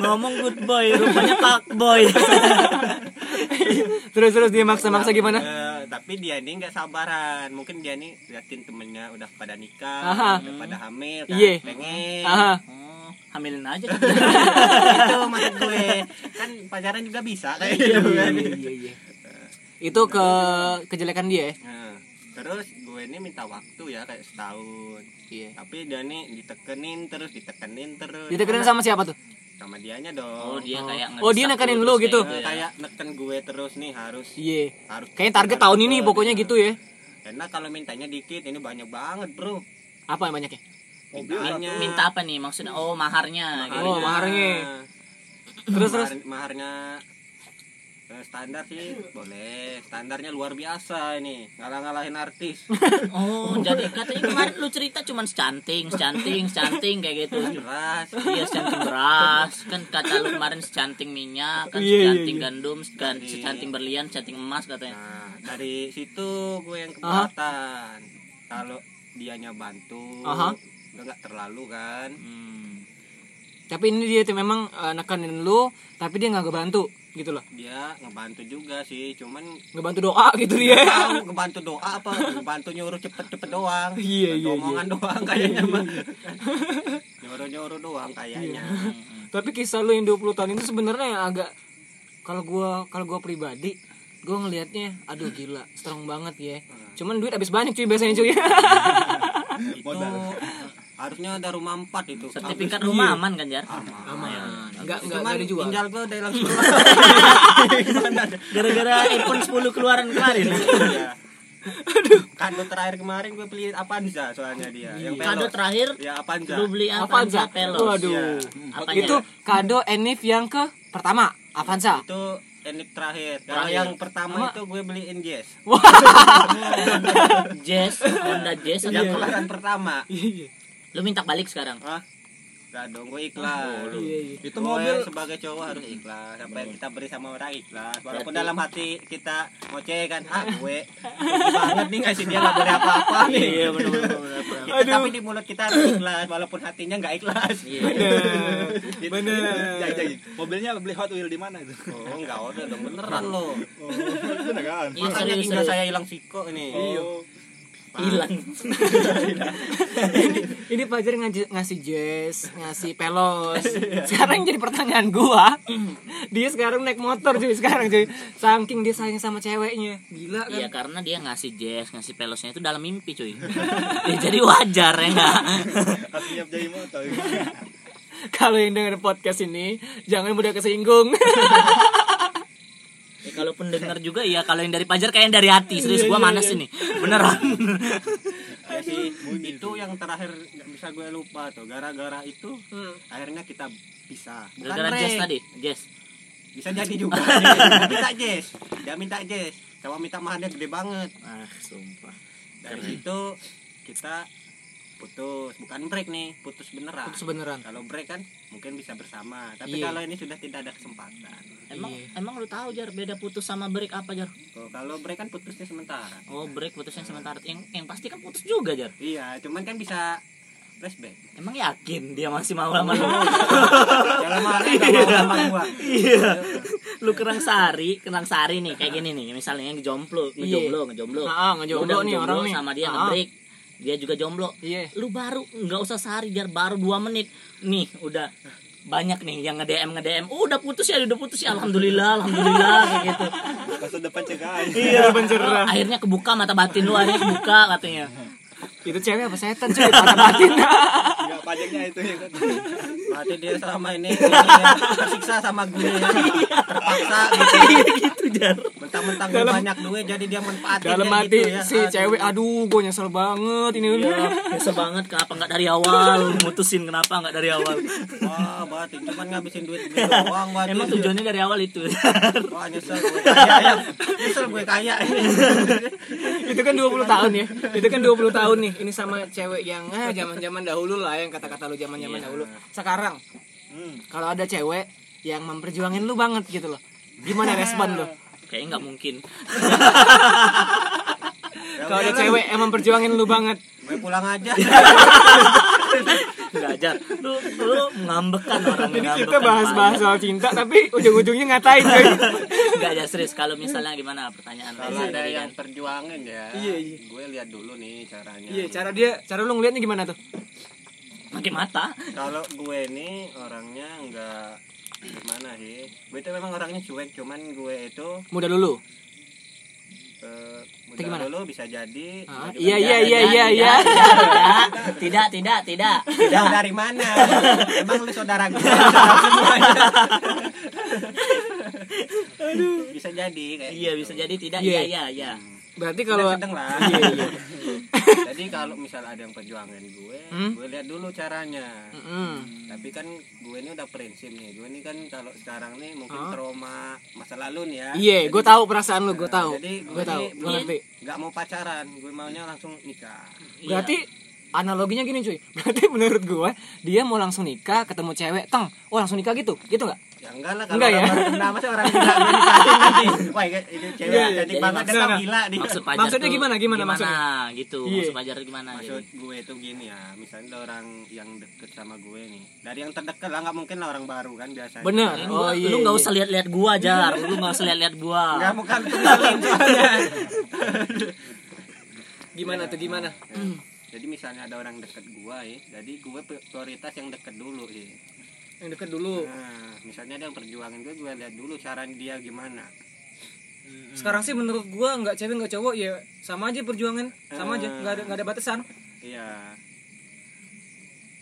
Speaker 2: Ngomong good boy, rupanya pak boy.
Speaker 1: terus terus dia maksa maksa gimana
Speaker 3: Eh, tapi dia ini nggak sabaran mungkin dia ini liatin temennya udah pada nikah
Speaker 1: Aha.
Speaker 3: udah pada hamil kan
Speaker 1: Iya.
Speaker 3: pengen
Speaker 1: Aha.
Speaker 2: Oh, hamilin aja.
Speaker 3: itu maksud gue kan pacaran juga bisa kayak gitu kan
Speaker 1: Iya, iya, iya. Itu ke kejelekan dia ya?
Speaker 3: Nah, terus gue ini minta waktu ya kayak setahun
Speaker 1: Iya.
Speaker 3: tapi dia ini ditekenin terus ditekenin terus
Speaker 1: Ditekenin sama siapa tuh?
Speaker 3: sama dianya
Speaker 2: Oh,
Speaker 3: dong
Speaker 2: dia kayak
Speaker 1: Oh, dia
Speaker 2: ngedesak
Speaker 1: nekanin
Speaker 2: terus
Speaker 1: lu
Speaker 2: kayak
Speaker 1: gitu?
Speaker 3: Nah,
Speaker 2: ya.
Speaker 3: kayak neken gue terus nih harus
Speaker 1: Iya.
Speaker 3: harus
Speaker 1: Kayaknya target tahun ini pokoknya gitu ya.
Speaker 3: karena kalau mintanya dikit ini banyak banget bro
Speaker 1: Apa yang banyaknya?
Speaker 3: mintaannya
Speaker 2: minta apa nih maksudnya oh maharnya gitu.
Speaker 1: Oh, maharnya. Terus,
Speaker 3: terus
Speaker 1: terus.
Speaker 3: maharnya eh, standar sih boleh standarnya luar biasa ini ngalah ngalahin artis
Speaker 2: oh jadi katanya kemarin lu cerita cuman secanting secanting secanting kayak gitu
Speaker 3: Kan keras
Speaker 2: iya secanting beras kan kata lu kemarin secanting minyak kan
Speaker 1: Iya, iya,
Speaker 2: secanting
Speaker 1: iya.
Speaker 2: gandum secan- secanting berlian secanting emas katanya
Speaker 3: nah dari situ gue yang keberatan kalau dianya bantu
Speaker 1: Aha.
Speaker 3: gue nggak terlalu kan
Speaker 2: Hmm.
Speaker 1: Tapi ini dia tuh memang eh, nekanin lu, tapi dia nggak ngebantu gitu loh.
Speaker 3: dia ngebantu juga sih cuman
Speaker 1: Ngebantu doa gitu dia.
Speaker 2: Iya,
Speaker 3: tahu ngebantu doa apa ngebantu nyuruh cepet-cepet doang
Speaker 1: Iya, iya,
Speaker 3: omongan doang
Speaker 2: Iya,
Speaker 3: kayaknya mah nyuruh-nyuruh doang kayaknya
Speaker 1: Hmm. tapi kisah lu yang 20 tahun itu sebenarnya yang agak kalau gua kalau gua pribadi gua ngelihatnya aduh gila strong banget ya. Cuman duit habis banyak cuy biasanya cuy.
Speaker 3: itu Gitu. harusnya ada rumah empat itu
Speaker 2: sertifikat rumah aman kan jar
Speaker 1: Enggak enggak
Speaker 3: cuman
Speaker 1: enggak dijual.
Speaker 3: tinggal gue udah hilang semua
Speaker 2: gara-gara iPhone 10 keluaran kemarin
Speaker 3: Iya. kado terakhir kemarin gue beli Avanza soalnya dia yang
Speaker 2: Iya. kado
Speaker 3: pelok
Speaker 2: terakhir
Speaker 3: ya Avanza
Speaker 2: lu beli
Speaker 1: Avanza
Speaker 2: Avanza Pelos
Speaker 3: Iya.
Speaker 1: waduh
Speaker 2: Apanya?
Speaker 1: itu kado Enif yang ke pertama Avanza
Speaker 3: itu enik terakhir Kalau
Speaker 2: Terakhir.
Speaker 3: yang pertama
Speaker 1: Sama-
Speaker 3: itu gue beliin Jazz
Speaker 2: Jazz Honda Jazz
Speaker 3: yang
Speaker 2: apa?
Speaker 3: kemarin pertama
Speaker 1: iya
Speaker 2: lu minta balik sekarang
Speaker 3: Hah? Gak dong, gue
Speaker 2: Oh,
Speaker 3: ikhlas
Speaker 1: iya
Speaker 4: itu
Speaker 3: Gue
Speaker 4: mobil
Speaker 3: sebagai cowok harus ikhlas Apa yang kita beri sama orang ikhlas Walaupun dalam hati kita ngoceh kan Ah gue rugi banget nih ngasih dia gak boleh apa-apa nih Kita- Tapi di mulut kita harus ikhlas Walaupun hatinya gak ikhlas
Speaker 4: Jadi- jadi, mobilnya beli Hot Wheel di mana itu
Speaker 3: Oh enggak udah dong beneran
Speaker 4: Oh.
Speaker 3: lo
Speaker 4: bener kan
Speaker 2: Iya,
Speaker 3: Makanya
Speaker 2: serius,
Speaker 3: hingga
Speaker 2: serius.
Speaker 3: saya hilang siko nih
Speaker 4: oh
Speaker 2: hilang
Speaker 1: ini Fajar ngasih, ngasih jazz ngasih pelos sekarang jadi pertanyaan gua dia sekarang naik motor cuy sekarang cuy saking dia sayang sama ceweknya gila kan
Speaker 2: Iya karena dia ngasih jazz, ngasih pelosnya itu dalam mimpi cuy Ya, Jadi wajar ya enggak
Speaker 4: hatinya jadi motor
Speaker 1: kalau yang denger podcast ini jangan mudah kesinggung
Speaker 2: ya, Kalau pendengar juga ya kalau yang dari pajar kayak yang dari hati Serius gua manas ini Beneran
Speaker 3: Ya sih, itu yang terakhir nggak bisa gue lupa tuh gara-gara itu
Speaker 1: Hmm.
Speaker 3: akhirnya kita bisa bukan
Speaker 2: Gara-gara jazz
Speaker 3: Ray.
Speaker 2: tadi Jazz
Speaker 3: bisa jadi juga Dia minta Jess dia minta Jess sama minta mahalnya gede banget
Speaker 2: Ah sumpah
Speaker 3: dari situ kita putus bukan break nih putus beneran
Speaker 1: Putus beneran.
Speaker 3: kalau break kan mungkin bisa bersama tapi
Speaker 1: Iya.
Speaker 3: kalau ini sudah tidak ada kesempatan
Speaker 2: Emang emang lu tahu Jar beda putus sama break apa Jar?
Speaker 3: Kalau- kalau break kan putusnya sementara
Speaker 2: Oh break putusnya sementara yang, yang pasti kan putus juga Jar
Speaker 3: iya cuman kan bisa flashback
Speaker 2: Emang yakin dia masih mau sama lu?
Speaker 3: dalam hal ini nggak mau sama gua
Speaker 2: Iya Lu kerang sari, kerang sari nih kayak gini nih Misalnya yang jomblo, ngejomblo, ngejomblo
Speaker 1: Ah, Iya. ngejomblo
Speaker 2: Lu udah
Speaker 1: nih orang nih.
Speaker 2: sama dia
Speaker 1: Ah.
Speaker 2: nge-break Dia juga jomblo
Speaker 1: iya
Speaker 2: lu baru nggak usah sehari jar baru dua menit nih udah banyak nih yang nge DM nge DM udah putus ya udah putus ya alhamdulillah alhamdulillah kayak gitu
Speaker 4: masa depan cegahan
Speaker 1: iya beneran
Speaker 2: akhirnya kebuka mata batin lu akhirnya kebuka katanya
Speaker 1: itu cewek apa setan cuy mata batin
Speaker 4: nggak Ya, pajaknya itu yang
Speaker 3: berarti dia selama ini ini, tersiksa sama gue terpaksa gitu
Speaker 1: Iya,
Speaker 2: gitu jar
Speaker 3: mentang-mentang gue banyak duit jadi dia manfaatin
Speaker 1: dalam
Speaker 3: kayak
Speaker 1: hati
Speaker 3: ya.
Speaker 1: si
Speaker 3: Aduh.
Speaker 1: cewek Iya, gitu aduh Iya. gue nyesel banget ini
Speaker 2: ya nyesel banget kenapa nggak dari awal mutusin kenapa nggak dari awal
Speaker 3: wah berarti cuman ngabisin duit gue doang berarti
Speaker 2: emang tujuannya dari awal itu
Speaker 3: wah nyesel gue kaya ya nyesel gue kaya ya. ini
Speaker 1: itu kan 20 tahun ya itu kan 20 tahun nih ini sama cewek yang ah zaman-zaman dahulu lah yang kata-kata lu zaman-zaman dahulu sekarang Iya. Hmm. kalau ada cewek yang memperjuangin lu banget gitu loh gimana respon lu
Speaker 2: kayaknya nggak mungkin
Speaker 1: kalau ada cewek yang memperjuangin lu banget
Speaker 3: gue pulang aja
Speaker 2: nggak jar lu lu mengambekkan orang
Speaker 1: ini
Speaker 2: mengambekkan
Speaker 1: kita bahas-bahas
Speaker 2: banget.
Speaker 1: soal cinta tapi ujung-ujungnya ngatain cuy
Speaker 2: nggak jar serius kalau misalnya gimana pertanyaan
Speaker 3: kalau
Speaker 2: lain
Speaker 3: ada
Speaker 2: dari
Speaker 3: yang
Speaker 2: Jar.
Speaker 3: perjuangan ya
Speaker 1: Iya, iya.
Speaker 3: gue lihat dulu nih caranya
Speaker 1: iya cara dia cara lu ngeliatnya gimana tuh
Speaker 2: pakai mata
Speaker 3: kalau gue nih orangnya nggak gimana sih gue itu memang orangnya cuek cuman gue itu
Speaker 1: muda dulu
Speaker 3: eh,
Speaker 1: Itu gimana?
Speaker 3: mudah dulu bisa jadi
Speaker 1: Ah,
Speaker 3: bisa juga
Speaker 1: iya iya
Speaker 2: Tidak,
Speaker 1: iya iya
Speaker 2: tidak,
Speaker 1: iya
Speaker 2: tidak tidak tidak tidak.
Speaker 3: Tahu dari mana? Emang lu saudara gue? Saudara semuanya. Bisa jadi kayak
Speaker 2: iya
Speaker 3: gitu.
Speaker 2: bisa jadi tidak
Speaker 1: Iya.
Speaker 2: iya iya iya
Speaker 1: berarti
Speaker 3: Udah
Speaker 1: kalau
Speaker 3: sedang lah.
Speaker 1: Iya, iya.
Speaker 3: jadi kalau misal ada yang perjuangan gue,
Speaker 1: Hmm?
Speaker 3: gue lihat dulu caranya.
Speaker 1: Mm-mm.
Speaker 3: Tapi kan gue ini udah prinsip nih. Gue ini kan kalau sekarang nih mungkin
Speaker 1: Hah?
Speaker 3: trauma masa lalu nih ya.
Speaker 1: iya gue tahu perasaan lu gue tahu
Speaker 3: Jadi
Speaker 1: gue tahu
Speaker 3: ini-
Speaker 1: gue ngerti
Speaker 3: Gak mau pacaran, gue maunya langsung nikah.
Speaker 1: Berarti analoginya gini cuy. Berarti menurut gue dia mau langsung nikah ketemu cewek teng. Oh langsung nikah gitu. Gitu nggak?
Speaker 3: Ya enggak lah kalau
Speaker 1: Enggak ya?
Speaker 3: orang baru kenal masa orang tidak gue nikahin nanti. Wah, ini cewek
Speaker 1: Iya, iya.
Speaker 3: cantik
Speaker 2: Jadi
Speaker 3: banget
Speaker 1: maksudnya-
Speaker 3: kan gila dia.
Speaker 2: Iya. maksud pajar
Speaker 1: Maksudnya
Speaker 2: tuh
Speaker 1: gimana, gimana maksudnya?
Speaker 2: gitu
Speaker 1: Iya.
Speaker 2: maksud pajar gimana Gitu.
Speaker 3: maksud gue itu gini ya misalnya ada orang yang deket sama gue nih dari yang terdekat lah nggak mungkin lah orang baru kan biasanya
Speaker 1: Bener.
Speaker 2: jadi
Speaker 1: Oh iya.
Speaker 2: lu nggak
Speaker 1: iya.
Speaker 2: usah lihat-lihat gua jar lu nggak usah lihat-lihat gua
Speaker 3: nggak mau kan kenalin soalnya.
Speaker 1: Gimana tuh gimana?
Speaker 3: jadi misalnya ada orang deket gue ya jadi gue pri- prioritas yang deket dulu sih
Speaker 1: Yang deket dulu.
Speaker 3: nah, misalnya ada yang perjuangan gue gue lihat dulu cara dia gimana
Speaker 1: Sekarang sih menurut gue nggak cewek nggak cowok ya sama aja perjuangan, sama aja nggak ada nggak ada batasan.
Speaker 3: iya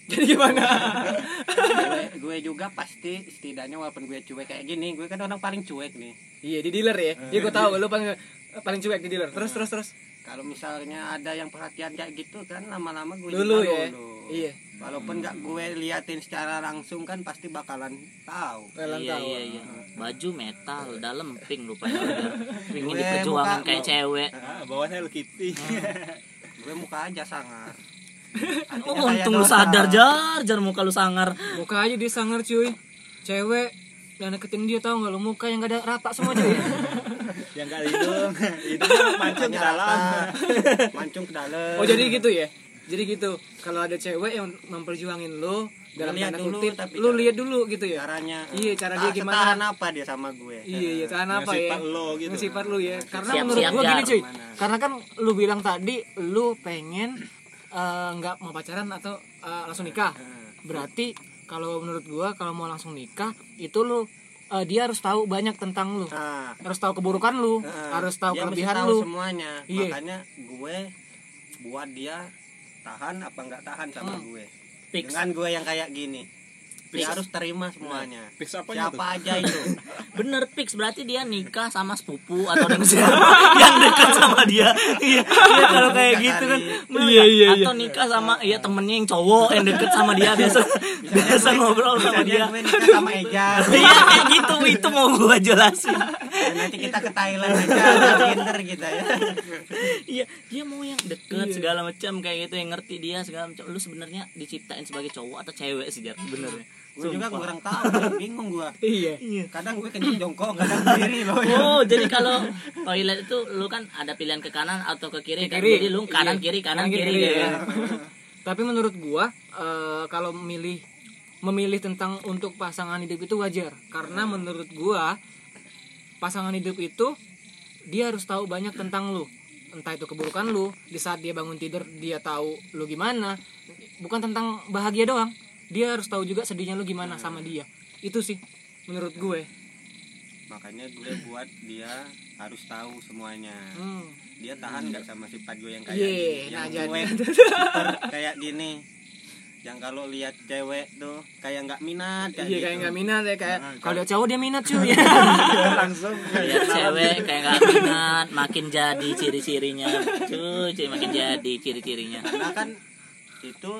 Speaker 1: Jadi gimana?
Speaker 3: gue, gue juga pasti setidaknya walaupun gue cuek kayak gini gue kan orang paling cuek nih
Speaker 1: iya di dealer ya. Iya gue tahu lu paling paling cuek di dealer. Terus terus terus.
Speaker 3: kalau misalnya ada yang perhatian kayak gitu kan lama-lama gue
Speaker 1: Dulu ya. Iya.
Speaker 3: walaupun nggak gue liatin secara langsung kan pasti bakalan tahu
Speaker 1: Kalian
Speaker 2: iya
Speaker 1: tahu.
Speaker 2: iya iya baju metal dalam pink rupanya pink
Speaker 3: Gue
Speaker 2: di perjuangan
Speaker 3: muka-
Speaker 2: kayak cewek
Speaker 4: Ah, bawahnya Hello Kitty. Ah.
Speaker 3: gue muka aja sangar
Speaker 1: Iya,
Speaker 3: Artinya
Speaker 2: Oh,
Speaker 3: kayak
Speaker 2: untung lu
Speaker 3: dosa.
Speaker 2: sadar jar jar muka lu sangar
Speaker 1: Muka aja dia sangar cuy. Cewek yang deketin dia tahu nggak lu muka yang gak ada rata semua cuy. Ya
Speaker 4: Yang gak hidung. Hidungnya mancung ke
Speaker 3: Makanya
Speaker 4: dalam.
Speaker 3: rata, mancung ke dalam
Speaker 1: oh jadi gitu ya. Jadi gitu. Kalau ada cewek yang memperjuangin lu dalam
Speaker 3: lihat
Speaker 1: tanda
Speaker 3: dulu,
Speaker 1: kutip,
Speaker 3: tapi
Speaker 1: lu
Speaker 3: jangan.
Speaker 1: lihat dulu gitu ya.
Speaker 3: caranya eh,
Speaker 1: Iya, cara dia gimana?
Speaker 3: setahan apa dia sama gue
Speaker 1: Iya, iya, tahan
Speaker 4: Dengan
Speaker 1: apa ya?
Speaker 4: sifat lo gitu.
Speaker 1: Dengan sifat lu ya. Karena
Speaker 2: Siap,
Speaker 1: menurut
Speaker 2: siap,
Speaker 1: gua gini
Speaker 2: Jar.
Speaker 1: cuy. Karena kan lu bilang tadi lu pengen eh, nggak mau pacaran atau eh, langsung nikah. Berarti kalau menurut gua kalau mau langsung nikah itu lu eh, dia harus tahu banyak tentang lu.
Speaker 3: nah,
Speaker 1: Harus tahu keburukan lu,
Speaker 2: Eh,
Speaker 3: nah,
Speaker 1: harus tahu
Speaker 3: dia mesti
Speaker 1: kelebihan
Speaker 3: tahu
Speaker 1: lu.
Speaker 3: semuanya
Speaker 1: Iya.
Speaker 3: makanya gue buat dia tahan apa nggak tahan sama
Speaker 1: Hmm.
Speaker 3: gue
Speaker 2: fix
Speaker 3: dengan gue yang kayak gini dia harus terima semuanya
Speaker 4: Fix apanya
Speaker 3: siapa aja itu
Speaker 2: bener fix berarti dia nikah sama sepupu atau dengan siapa yang dekat sama dia iya iya, kalau kayak
Speaker 3: Bukan
Speaker 2: gitu kan
Speaker 3: kali.
Speaker 2: bener
Speaker 1: Iya,
Speaker 2: nggak?
Speaker 1: iya, iya.
Speaker 2: atau nikah sama ya temennya yang cowok yang deket sama dia biasa biasa ngobrol sama
Speaker 3: Misalnya
Speaker 2: dia
Speaker 3: gue nikah sama Eja
Speaker 2: iya kayak gitu itu mau gua jelasin
Speaker 3: dan nanti kita ke Thailand aja Tinder kita ya
Speaker 2: iya dia mau yang
Speaker 1: Iya.
Speaker 2: deket segala macam kayak gitu yang ngerti dia segala macam lu sebenarnya diciptain sebagai cowok atau cewek sih jar sebenarnya
Speaker 3: gue juga
Speaker 2: Sumpah.
Speaker 3: kurang tahu bingung gue
Speaker 1: Iya.
Speaker 3: kadang gue kencing jongkok kadang sendiri loh ya.
Speaker 2: Oh, jadi kalau toilet itu lu kan ada pilihan ke kanan atau ke kiri, kan? Jadi lu kanan
Speaker 1: Iya.
Speaker 2: kiri kanan kiri,
Speaker 1: iya.
Speaker 2: kayak gitu.
Speaker 1: Tapi menurut gua eh, kalau memilih memilih tentang untuk pasangan hidup itu wajar karena
Speaker 2: Hmm.
Speaker 1: menurut gua pasangan hidup itu dia harus tahu banyak tentang lu. Entah itu keburukan lu, di saat dia bangun tidur dia tahu lu gimana. Bukan tentang bahagia doang. Dia harus tahu juga sedihnya lu gimana
Speaker 2: Hmm.
Speaker 1: sama dia. Itu sih menurut gue.
Speaker 3: makanya gue buat dia harus tahu semuanya
Speaker 1: Hmm.
Speaker 3: dia tahan nggak sama sifat gue yang kayak
Speaker 1: Iya,
Speaker 3: gini
Speaker 1: nah
Speaker 3: yang
Speaker 1: jadi.
Speaker 3: gue super kayak gini yang kalau lihat cewek tuh kayak nggak minat kayak
Speaker 1: Iya kayak
Speaker 3: gitu.
Speaker 1: nggak minat ya kayak kalau dia cowok dia minat cuy.
Speaker 4: Langsung.
Speaker 2: Lihat cewek kayak gak minat, makin jadi ciri-cirinya. Cuy, cuy, makin jadi ciri-cirinya.
Speaker 3: karena kan itu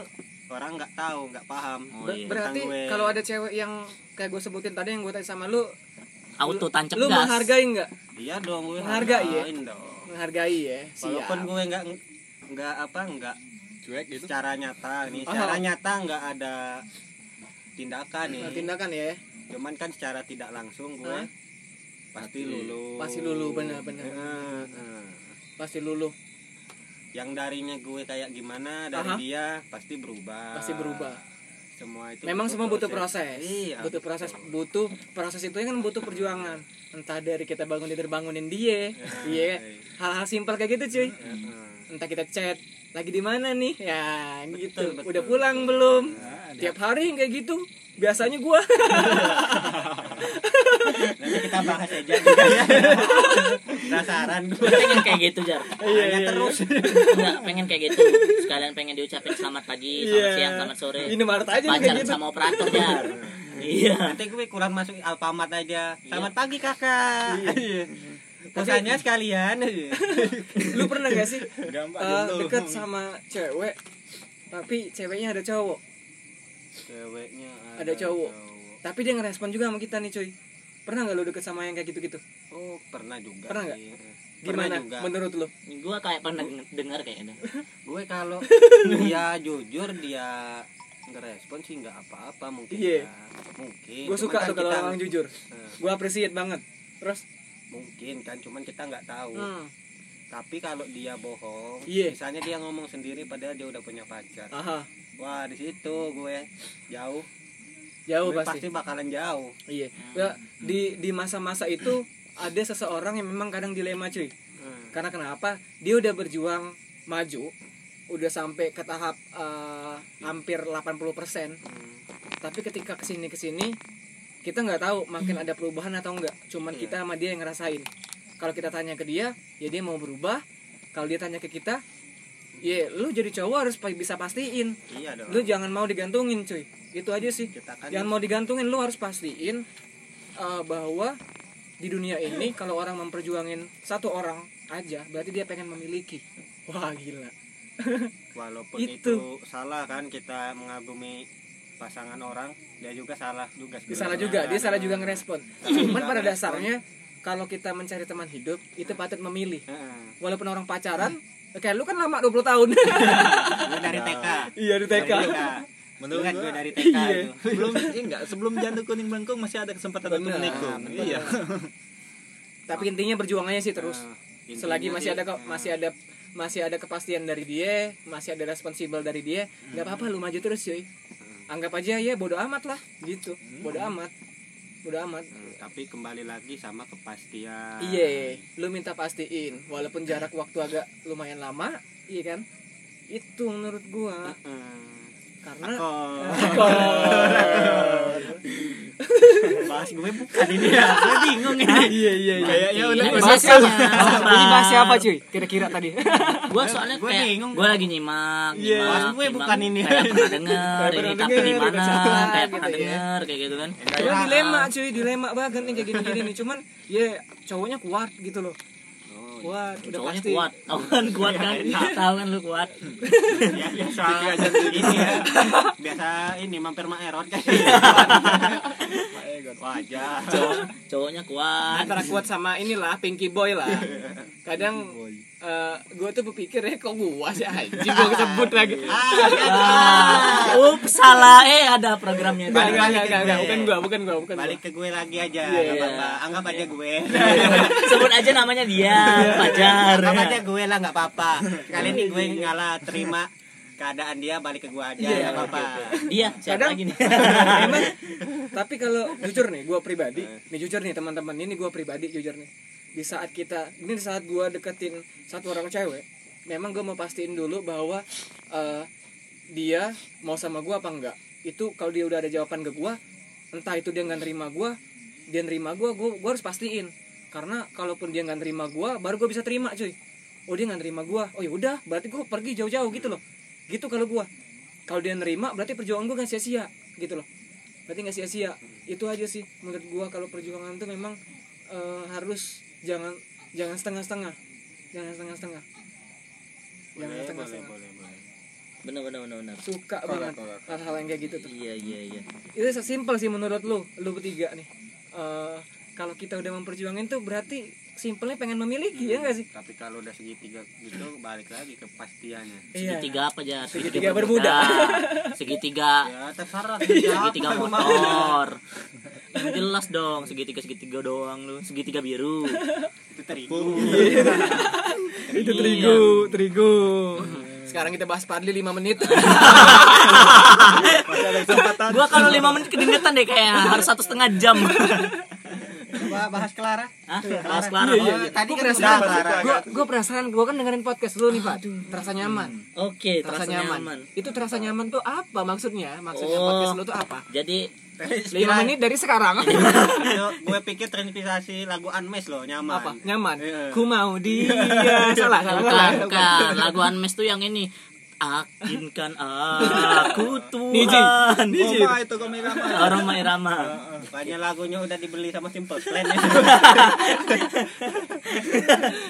Speaker 3: orang nggak tahu nggak paham
Speaker 2: Oh,
Speaker 1: Ber-
Speaker 2: iya.
Speaker 1: berarti
Speaker 3: Tentang gue.
Speaker 1: kalau ada cewek yang kayak gue sebutin tadi yang gue tanya sama lu
Speaker 2: Auto tancap
Speaker 1: lu
Speaker 2: gas.
Speaker 1: menghargai nggak
Speaker 3: iya dong gue
Speaker 1: Menghargai, ya?
Speaker 3: hargain dong
Speaker 1: menghargai ya siap
Speaker 3: walaupun gue nggak nggak apa nggak
Speaker 4: Cuek gitu.
Speaker 3: secara nyata nih
Speaker 1: Oh.
Speaker 3: secara nyata nggak ada tindakan nih
Speaker 1: Nah, tindakan ya
Speaker 3: cuman kan secara tidak langsung gue
Speaker 1: Hah?
Speaker 3: pasti lulu
Speaker 1: Pasti lulu, benar, benar.
Speaker 3: Heeh, heeh.
Speaker 1: pasti luluh
Speaker 3: yang darinya gue kayak gimana dari
Speaker 1: Aha.
Speaker 3: dia pasti berubah
Speaker 1: pasti berubah
Speaker 3: semua itu
Speaker 1: memang semua butuh proses
Speaker 3: iya
Speaker 1: butuh proses butuh proses itu kan butuh perjuangan entah dari kita bangun tidur bangunin dia iya hal-hal simpel kayak gitu
Speaker 3: Iya.
Speaker 1: cuy
Speaker 3: Heeh.
Speaker 1: entah kita chat lagi di mana nih ya gitu
Speaker 3: Betul, betul,
Speaker 1: udah pulang belum tiap hari kayak gitu biasanya gua
Speaker 3: nanti kita bahas aja penasaran
Speaker 1: Iya,
Speaker 3: gue
Speaker 2: Pengen kayak gitu, Jar.
Speaker 3: Tanya terus
Speaker 2: Enggak, pengen kayak gitu. Sekalian pengen diucapin selamat pagi, selamat
Speaker 1: Iya.
Speaker 2: siang, selamat sore.
Speaker 1: ini Maret aja nih, kayak
Speaker 2: Pacaran
Speaker 1: gitu
Speaker 2: sama operator, Jar. Iya.
Speaker 3: nanti gue kurang masuk alpamat aja selamat pagi kakak pesannya sekalian Iya.
Speaker 1: lu pernah gak sih
Speaker 4: Gampang
Speaker 1: eh,
Speaker 4: gitu.
Speaker 1: deket sama cewek tapi ceweknya ada cowok
Speaker 3: ceweknya
Speaker 1: Ada cowok. tapi dia ngerespon juga sama kita nih cuy pernah nggak lu deket sama yang kayak gitu-gitu
Speaker 3: oh pernah juga
Speaker 1: Pernah nggak?
Speaker 3: sih. Pernah
Speaker 1: gimana
Speaker 3: juga.
Speaker 1: menurut lu
Speaker 2: Gua kayak gitu. pernah dengar kayaknya.
Speaker 3: gue kalau dia jujur dia ngerespon sih nggak apa-apa mungkin
Speaker 1: Iya.
Speaker 3: ya. mungkin
Speaker 1: gue
Speaker 3: Cuman
Speaker 1: suka
Speaker 3: kan
Speaker 1: tuh kalau
Speaker 3: kita-
Speaker 1: orang jujur
Speaker 3: Eh,
Speaker 1: gue appreciate banget terus
Speaker 3: mungkin kan cuman kita nggak tahu
Speaker 1: hmm,
Speaker 3: tapi kalau dia bohong
Speaker 1: Iya.
Speaker 3: misalnya dia ngomong sendiri padahal dia udah punya pacar
Speaker 1: aha
Speaker 3: wah di situ gue jauh
Speaker 1: jauh
Speaker 3: gue
Speaker 1: pasti
Speaker 3: pasti bakalan jauh
Speaker 1: iya Ya, di di masa-masa itu ada seseorang yang memang kadang dilema cuy karena kenapa dia udah berjuang maju udah sampai ke tahap eh, hampir 80% tapi ketika kesini kesini kita nggak tahu makin ada perubahan atau enggak cuman
Speaker 3: Iya.
Speaker 1: kita sama dia yang ngerasain kalau kita tanya ke dia ya dia mau berubah kalau dia tanya ke kita ya lu jadi cowok harus pa- bisa pastiin
Speaker 3: iya dong
Speaker 1: lu jangan mau digantungin cuy itu aja sih
Speaker 3: kita kan
Speaker 1: jangan mau digantungin lu harus pastiin eh, bahwa di dunia ini kalau orang memperjuangin satu orang aja berarti dia pengen memiliki wah gila
Speaker 3: walaupun
Speaker 1: Itu.
Speaker 3: itu. salah kan kita mengagumi pasangan orang dia juga salah juga
Speaker 1: dia
Speaker 3: sebenarnya.
Speaker 1: salah juga dia salah juga ngerespon cuman pada dasarnya kalau kita mencari teman hidup itu patut memilih
Speaker 3: Heeh.
Speaker 1: walaupun orang pacaran kayak lu kan lama 20 tahun
Speaker 3: Gua dari TK
Speaker 1: iya di TK
Speaker 3: Dari TK
Speaker 4: Menurut
Speaker 3: Ingat
Speaker 4: gua-
Speaker 3: gua dari TK
Speaker 1: Iya.
Speaker 3: itu
Speaker 4: Belum iya enggak, sebelum jandu kuning melengkung masih ada kesempatan untuk
Speaker 1: Benar,
Speaker 4: menikung.
Speaker 3: benar.
Speaker 4: Iya.
Speaker 1: tapi intinya berjuangannya sih terus
Speaker 3: Nah, intinya
Speaker 1: selagi masih
Speaker 3: sih,
Speaker 1: ada ke-
Speaker 3: nah,
Speaker 1: masih ada masih ada kepastian dari dia masih ada responsibel dari dia nggak apa-apa lu maju terus cuy anggap aja ya bodoh amat lah gitu bodoh
Speaker 2: Hmm.
Speaker 1: amat bodoh amat
Speaker 2: Nah.
Speaker 3: hmm, tapi kembali lagi sama kepastian
Speaker 1: Iya, lu minta pastiin walaupun jarak waktu agak lumayan lama, iya kan? Itu menurut gua
Speaker 3: Heeh.
Speaker 1: karena
Speaker 3: oh
Speaker 1: Akor.
Speaker 3: bahas gue bukan ini ya gue bingung ini
Speaker 1: Iya iya iya.
Speaker 4: Kayaknya udah
Speaker 2: Ini
Speaker 1: Bahas
Speaker 2: biasanya.
Speaker 1: siapa? Ini bahas ya. siapa cuy? Kira-kira tadi.
Speaker 2: gue iya. soalnya
Speaker 3: Gua
Speaker 2: kayak
Speaker 3: bingung.
Speaker 2: gue lagi nyimak
Speaker 1: Iya.
Speaker 2: nyimak,
Speaker 3: Mas, gue
Speaker 2: nyimak,
Speaker 3: bukan ini.
Speaker 2: kayak pernah denger ini
Speaker 1: pernah
Speaker 2: tapi di
Speaker 1: denger,
Speaker 2: mana
Speaker 1: salah,
Speaker 2: kayak
Speaker 1: gitu
Speaker 2: pernah
Speaker 1: ya.
Speaker 2: denger kayak gitu kan
Speaker 1: Cuma dilema cuy, dilema banget nih kayak gini-gini nih. Cuman ya cowoknya kuat gitu loh. Kuat, udah
Speaker 2: Oh, iya. cowoknya
Speaker 1: pasti. Iya,
Speaker 2: kuat tau kan kuat kan tau kan lu kuat
Speaker 3: ya biasa
Speaker 1: Gitu
Speaker 3: ini ya biasa ini mampir mak erot kan
Speaker 1: Iya.
Speaker 3: wajah
Speaker 2: Cowok- cowoknya kuat
Speaker 1: Antara kuat sama inilah Pinky Boy lah. Kadang eh, gua tuh berpikir ya kok gua sih anjing gua kesebut lagi.
Speaker 3: Iya.
Speaker 2: Ah, ups salah eh ada programnya
Speaker 1: Enggak,
Speaker 2: Ada.
Speaker 1: enggak, enggak, enggak, bukan gua, bukan gua, bukan gua.
Speaker 3: balik ke gue lagi aja
Speaker 1: Iya,
Speaker 3: nggak
Speaker 1: iya.
Speaker 3: apa-apa anggap aja gue
Speaker 2: sebut aja namanya dia
Speaker 1: Iya.
Speaker 2: pacar
Speaker 3: anggap aja gue lah nggak apa-apa kali ini
Speaker 1: Iya.
Speaker 3: gue ngalah terima keadaan dia balik ke gue aja nggak apa-apa
Speaker 2: dia Iya, siapa
Speaker 1: Kadang-
Speaker 2: lagi nih
Speaker 1: Emang, tapi kalau jujur nih gue pribadi nih jujur nih teman-teman ini gue pribadi jujur nih di saat kita ini di saat gue deketin satu orang cewek memang gue mau pastiin dulu bahwa eh, dia mau sama gue apa enggak itu kalau dia udah ada jawaban ke gue entah itu dia nggak nerima gue dia nerima gue gue harus pastiin karena kalaupun dia nggak nerima gue baru gue bisa terima cuy oh dia nggak nerima gue oh ya udah berarti gue pergi jauh-jauh gitu loh gitu kalau gue kalau dia nerima berarti perjuangan gue nggak sia-sia gitu loh berarti nggak sia-sia itu aja sih menurut gua kalau perjuangan tuh memang eh, harus jangan jangan setengah-setengah jangan setengah-setengah jangan
Speaker 3: boleh boleh
Speaker 1: setengah-setengah
Speaker 3: boleh boleh
Speaker 2: bener bener bener bener
Speaker 1: suka banget hal-hal yang kayak gitu tuh
Speaker 2: iya iya iya
Speaker 1: itu sesimpel sih menurut lu lu bertiga nih Eh, kalau kita udah memperjuangin tuh berarti simpelnya pengen memiliki ya nggak sih
Speaker 3: tapi kalau udah segitiga gitu balik lagi ke pastiannya
Speaker 1: Iya.
Speaker 2: segitiga apa aja
Speaker 1: Segitiga bermuda.
Speaker 2: segitiga
Speaker 3: ya terserah
Speaker 1: Iya.
Speaker 2: segitiga motor yang jelas dong segitiga segitiga doang lu segitiga biru
Speaker 3: itu terigu
Speaker 1: itu
Speaker 2: terigu,
Speaker 1: terigu iya. sekarang kita bahas Padli 5 menit
Speaker 2: gua kalau lima menit kedengetan deh kayak harus satu setengah jam
Speaker 3: coba bahas Clara
Speaker 2: ah kelas kelar
Speaker 1: Iya,
Speaker 3: Oh,
Speaker 1: iya.
Speaker 3: tadi
Speaker 1: Gua
Speaker 3: kan
Speaker 1: penasaran.
Speaker 3: udah, Clara.
Speaker 1: Gua- gua penasaran gua kan dengerin podcast lu nih pak terasa nyaman
Speaker 2: oke
Speaker 1: Hmm. terasa nyaman. Itu terasa nyaman tuh apa maksudnya? Maksudnya
Speaker 2: Oh.
Speaker 1: podcast lu tuh apa?
Speaker 2: jadi
Speaker 1: Lima menit dari sekarang.
Speaker 3: Yo, gue pikir transpisasi lagu Unmesh loh nyaman
Speaker 1: apa? Nyaman.
Speaker 3: Iya.
Speaker 1: Ku mau dia. salah, salah, salah.
Speaker 2: bukan bukan lagu Anmes tuh yang ini Akinkan aku Tuhan
Speaker 1: Niji.
Speaker 4: Oh, Pak, itu komik apa?
Speaker 2: Orang main ramah
Speaker 3: Bukannya lagunya udah dibeli sama Simple Plan ya.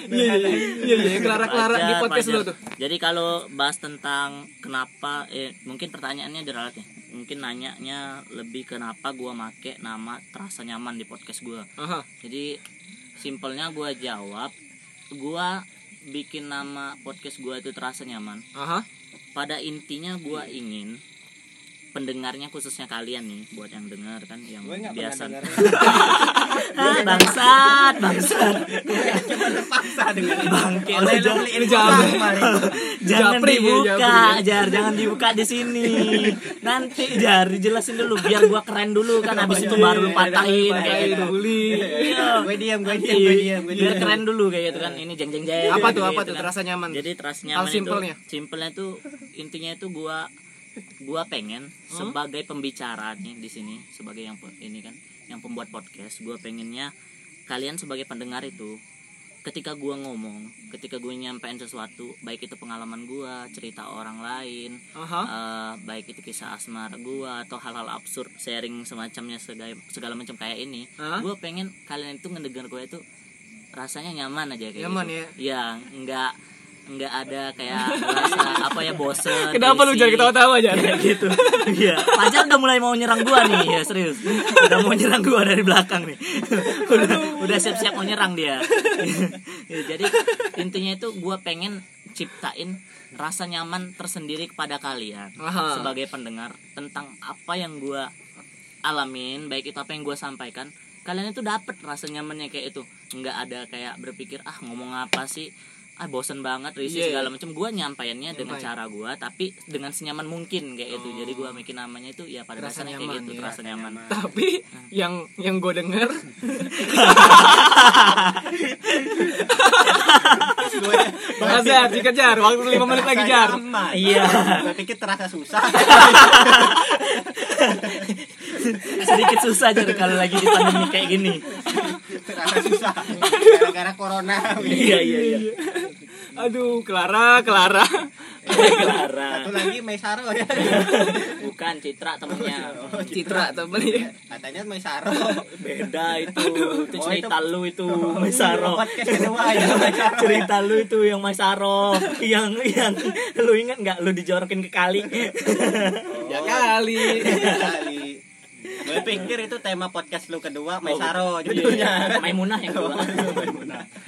Speaker 1: Iya, iya, iya, iya, kelara-kelara di
Speaker 2: Pajar,
Speaker 1: podcast lu
Speaker 2: pajar.
Speaker 1: tuh.
Speaker 2: Jadi kalau bahas tentang kenapa eh mungkin pertanyaannya diralat ya. Mungkin nanyanya lebih kenapa gua make nama terasa nyaman di podcast gua.
Speaker 1: Aha.
Speaker 2: Jadi simpelnya gua jawab gua bikin nama podcast gua itu terasa nyaman.
Speaker 1: Aha.
Speaker 2: Pada intinya gua ingin pendengarnya khususnya kalian nih buat yang dengar kan yang biasa Ah, bangsat bangsat bangke lu
Speaker 3: Oleh lo
Speaker 2: jangan-
Speaker 3: beliin
Speaker 1: Jangan.
Speaker 3: gua kemarin.
Speaker 2: jangan
Speaker 1: Japri, Bu,
Speaker 2: dibuka
Speaker 1: Japri.
Speaker 2: jar jangan dibuka di sini nanti jar jelasin dulu biar gua keren dulu kan habis itu baru lu patahin kayak
Speaker 1: Patahin,
Speaker 2: gitu
Speaker 1: bully.
Speaker 2: Iya.
Speaker 3: Gue diam, gue diam, gue
Speaker 2: Iya,
Speaker 3: diam, gue
Speaker 2: biar
Speaker 3: diam.
Speaker 2: keren dulu kayak gitu kan ini jeng jeng jeng
Speaker 1: Apa tuh,
Speaker 2: kayak
Speaker 1: apa
Speaker 2: gitu
Speaker 1: tuh
Speaker 2: kan.
Speaker 1: terasa nyaman?
Speaker 2: jadi terasa nyaman itu
Speaker 1: simpelnya.
Speaker 2: simpelnya tuh intinya itu gua gua pengen
Speaker 1: Hmm?
Speaker 2: sebagai pembicara nih di sini sebagai yang pe- ini kan yang pembuat podcast gua pengennya kalian sebagai pendengar itu ketika gua ngomong ketika gue nyampein sesuatu baik itu pengalaman gua cerita orang lain
Speaker 1: Aha.
Speaker 2: eh, baik itu kisah asmara gua atau hal-hal absurd sharing semacamnya segala, segala macam kayak ini
Speaker 1: Hah?
Speaker 2: gua pengen kalian itu ngedengar gue itu rasanya nyaman aja kayak
Speaker 1: Nyaman
Speaker 2: gitu.
Speaker 1: ya?
Speaker 2: Iya, enggak enggak ada kayak merasa apa ya bosen.
Speaker 1: Kenapa lu
Speaker 2: risih.
Speaker 1: jangan ketawa-tawa aja?
Speaker 2: Kayak gitu. Iya, Fajar udah mulai mau nyerang gua nih, ya serius. Udah mau nyerang gua dari belakang nih. udah, udah siap-siap mau nyerang dia. Ya, jadi intinya itu gua pengen ciptain rasa nyaman tersendiri kepada kalian
Speaker 1: Aha.
Speaker 2: sebagai pendengar tentang apa yang gua alamin, baik itu apa yang gua sampaikan. Kalian itu dapet rasa nyamannya kayak itu. Nggak ada kayak berpikir ah ngomong apa sih? Ah bosen banget risih
Speaker 1: Iya,
Speaker 2: segala
Speaker 1: iya.
Speaker 2: macam. Gua nyampaiannya dengan
Speaker 1: Nyampain. Oh.
Speaker 2: cara cara gua tapi dengan senyaman mungkin kayak itu jadi gua bikin namanya itu ya pada
Speaker 1: Terasa
Speaker 2: dasarnya
Speaker 1: nyaman,
Speaker 2: kayak gitu
Speaker 1: ya.
Speaker 2: terasa nyaman
Speaker 1: Tapi yang yang gue denger Azar dikejar waktu 5 menit lagi jar
Speaker 3: Iya. Gue pikir terasa susah.
Speaker 2: sedikit susah jadi kalau lagi di pandemi kayak gini
Speaker 3: terasa susah. Gara-gara corona.
Speaker 2: iya iya iya
Speaker 1: Aduh Clara Clara
Speaker 3: Satu
Speaker 2: Clara
Speaker 3: lagi Maisaro ya.
Speaker 2: bukan Citra temennya
Speaker 1: Citra
Speaker 3: Iya.
Speaker 1: temen
Speaker 3: Katanya Maisaro.
Speaker 2: beda itu itu
Speaker 3: Oh,
Speaker 2: cerita lu itu
Speaker 1: Oh, iya.
Speaker 2: Mas
Speaker 3: Ini
Speaker 2: Aro
Speaker 3: Podcast kedua ya.
Speaker 2: Iya.
Speaker 3: Maisaro.
Speaker 2: cerita lu itu yang Mas Aro yang yang lu ingat nggak lu dijorokin ke kali
Speaker 1: Iya, Ya kali
Speaker 3: Kali. Gue kan? pikir itu tema podcast lu kedua Maisaro judulnya.
Speaker 2: Iya, Maimunah yang kedua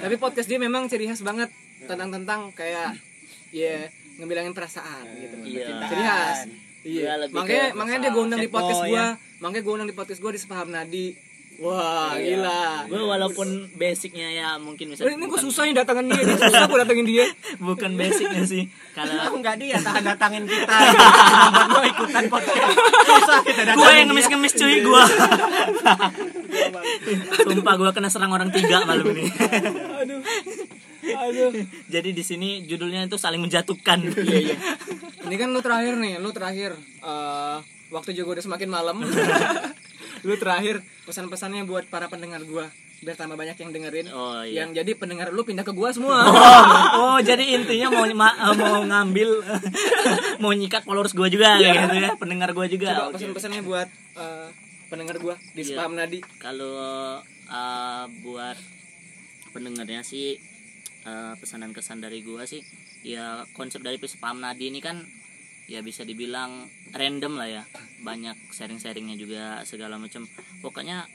Speaker 1: Tapi podcast dia memang ciri khas banget Tentang-tentang kayak Ya ngebilangin perasaan gitu
Speaker 2: Iya.
Speaker 1: Ciri khas
Speaker 2: Dia
Speaker 1: Iya,
Speaker 2: lebih
Speaker 1: makanya
Speaker 2: ke
Speaker 1: makanya dia gue undang di
Speaker 3: Sad
Speaker 1: podcast
Speaker 3: boy,
Speaker 1: gua, makanya gue undang di podcast gua di Sepaham Nadi. Wah, gila.
Speaker 2: gue walaupun basicnya ya mungkin bisa
Speaker 1: Eh, ini gue susah nih datangin dia, dia susah gue datangin dia.
Speaker 2: bukan basicnya sih kalau
Speaker 3: Tahu nggak dia tahan datangin kita. Kenapa gue ikutan podcast? Susah kita datangin.
Speaker 2: gue yang ngemis-ngemis cuy gue sumpah gue kena serang orang tiga malam ini
Speaker 1: Aduh. Iya,
Speaker 2: jadi di sini judulnya itu saling menjatuhkan
Speaker 1: Ini kan lu terakhir nih, lu terakhir. Eh, waktu juga udah semakin malam. lu terakhir pesan-pesannya buat para pendengar gua biar tambah banyak yang dengerin.
Speaker 2: Oh, iya.
Speaker 1: Yang jadi pendengar lu pindah ke gua semua.
Speaker 2: oh, oh, jadi intinya mau ma- eh, mau ngambil mau nyikat followers gue juga kayak gitu ya pendengar gue juga
Speaker 1: Coba
Speaker 2: Oke.
Speaker 1: pesan-pesannya buat eh, pendengar gua di
Speaker 2: Iya.
Speaker 1: Sepaham Nadi.
Speaker 2: kalau eh, buat pendengarnya sih eh, pesanan kesan dari gua sih ya konsep dari Pam Nadi ini kan ya bisa dibilang random lah ya banyak sharing-sharingnya juga segala macam pokoknya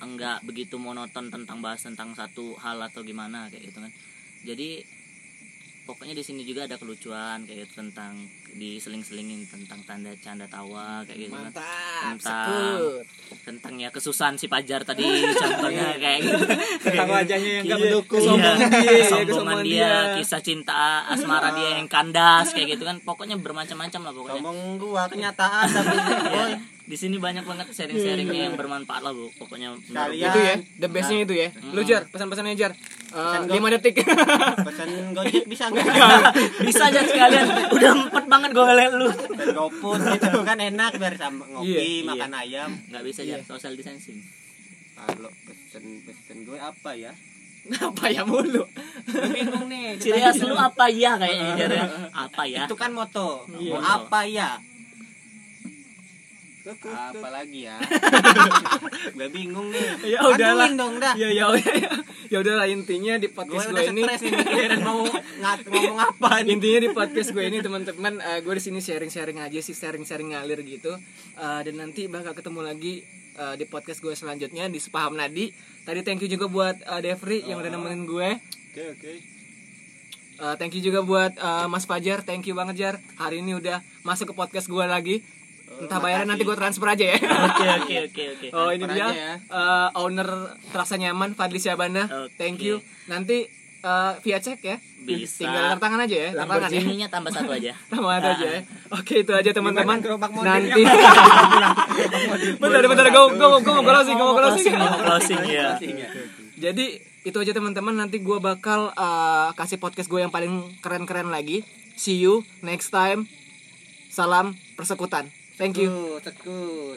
Speaker 2: enggak begitu monoton tentang bahas tentang satu hal atau gimana kayak gitu kan jadi pokoknya di sini juga ada kelucuan kayak gitu tentang diseling-selingin tentang tanda canda tawa kayak gitu kan
Speaker 1: Mantap,
Speaker 2: Mantap.
Speaker 1: sekut.
Speaker 2: tentang ya kesusahan si Pajar tadi contohnya kayak gitu
Speaker 1: Tentang wajahnya yang gak
Speaker 2: Iya,
Speaker 1: mendukung.
Speaker 2: iya,
Speaker 1: Kesombongan dia,
Speaker 2: kesombongan
Speaker 1: kesombongan
Speaker 2: dia,
Speaker 1: dia.
Speaker 2: kisah cinta asmara dia yang kandas kayak gitu kan pokoknya bermacam-macam lah pokoknya
Speaker 3: Ngomong gua kenyataan tapi boy.
Speaker 2: di sini banyak banget sharing-sharingnya yang bermanfaat lah bu pokoknya menurut
Speaker 3: Kalian
Speaker 1: itu ya the bestnya
Speaker 2: Nah.
Speaker 1: itu ya
Speaker 2: Hmm.
Speaker 1: lu jar pesan-pesannya jar Eh, lima detik
Speaker 3: pesan gojek bisa nggak?
Speaker 2: gua. bisa aja sekalian udah empet banget gue ngeliat lu
Speaker 3: GoFood gitu kan enak biar sama ngopi
Speaker 2: Iya,
Speaker 3: makan ayam.
Speaker 2: nggak bisa
Speaker 1: Iya.
Speaker 2: aja social distancing
Speaker 3: Kalau pesen pesen gue apa ya?
Speaker 1: apa ya mulu
Speaker 3: Gue bingung nih.
Speaker 2: ciri khas lu apa ya kayaknya Jar, ya? apa ya
Speaker 3: Itu kan moto.
Speaker 2: Iya.
Speaker 3: Apa ya? Apa lagi ya? gue bingung nih.
Speaker 1: Ya udahlah.
Speaker 3: Aduin dong dah.
Speaker 1: ya ya udah ya ya udahlah intinya di
Speaker 3: Gue
Speaker 1: podcast
Speaker 3: udah
Speaker 1: gue ini
Speaker 3: stres nih mikirin mau ngat- ngomong apa nih.
Speaker 1: intinya di podcast gue ini teman-teman eh, gue di sini sharing-sharing aja sih sharing-sharing ngalir gitu Eh, dan nanti bakal ketemu lagi eh, di podcast gue selanjutnya di sepaham nadi tadi thank you juga buat eh, Devri yang udah nemenin gue
Speaker 4: Oke oke.
Speaker 1: Eh, thank you juga buat eh, Mas Fajar thank you banget Jar hari ini udah masuk ke podcast gue lagi entah bayaran nanti gue transfer aja ya
Speaker 2: oke oke oke oke
Speaker 1: Oh ini
Speaker 3: Oh, Transfer
Speaker 1: dia
Speaker 3: aja ya.
Speaker 1: eh, owner terasa nyaman Fadli Syabana.
Speaker 2: Oke.
Speaker 1: Thank you. Nanti eh, via cek ya.
Speaker 2: Bisa.
Speaker 1: Tinggal tangan aja ya, tangan ya.
Speaker 2: Lamborghini-nya tambah satu aja
Speaker 1: Tambah satu aja ya. Oke itu aja teman-teman.
Speaker 3: Gimana gerobak mobil
Speaker 1: Nanti. bentar bentar gue gue gue mau closing gue mau Oh, closing.
Speaker 2: mau closing ya
Speaker 1: Jadi itu aja teman-teman nanti gue bakal eh, kasih podcast gue yang paling keren-keren lagi. See you next time. Salam persekutan. Thank you.
Speaker 3: Tekut, tekut.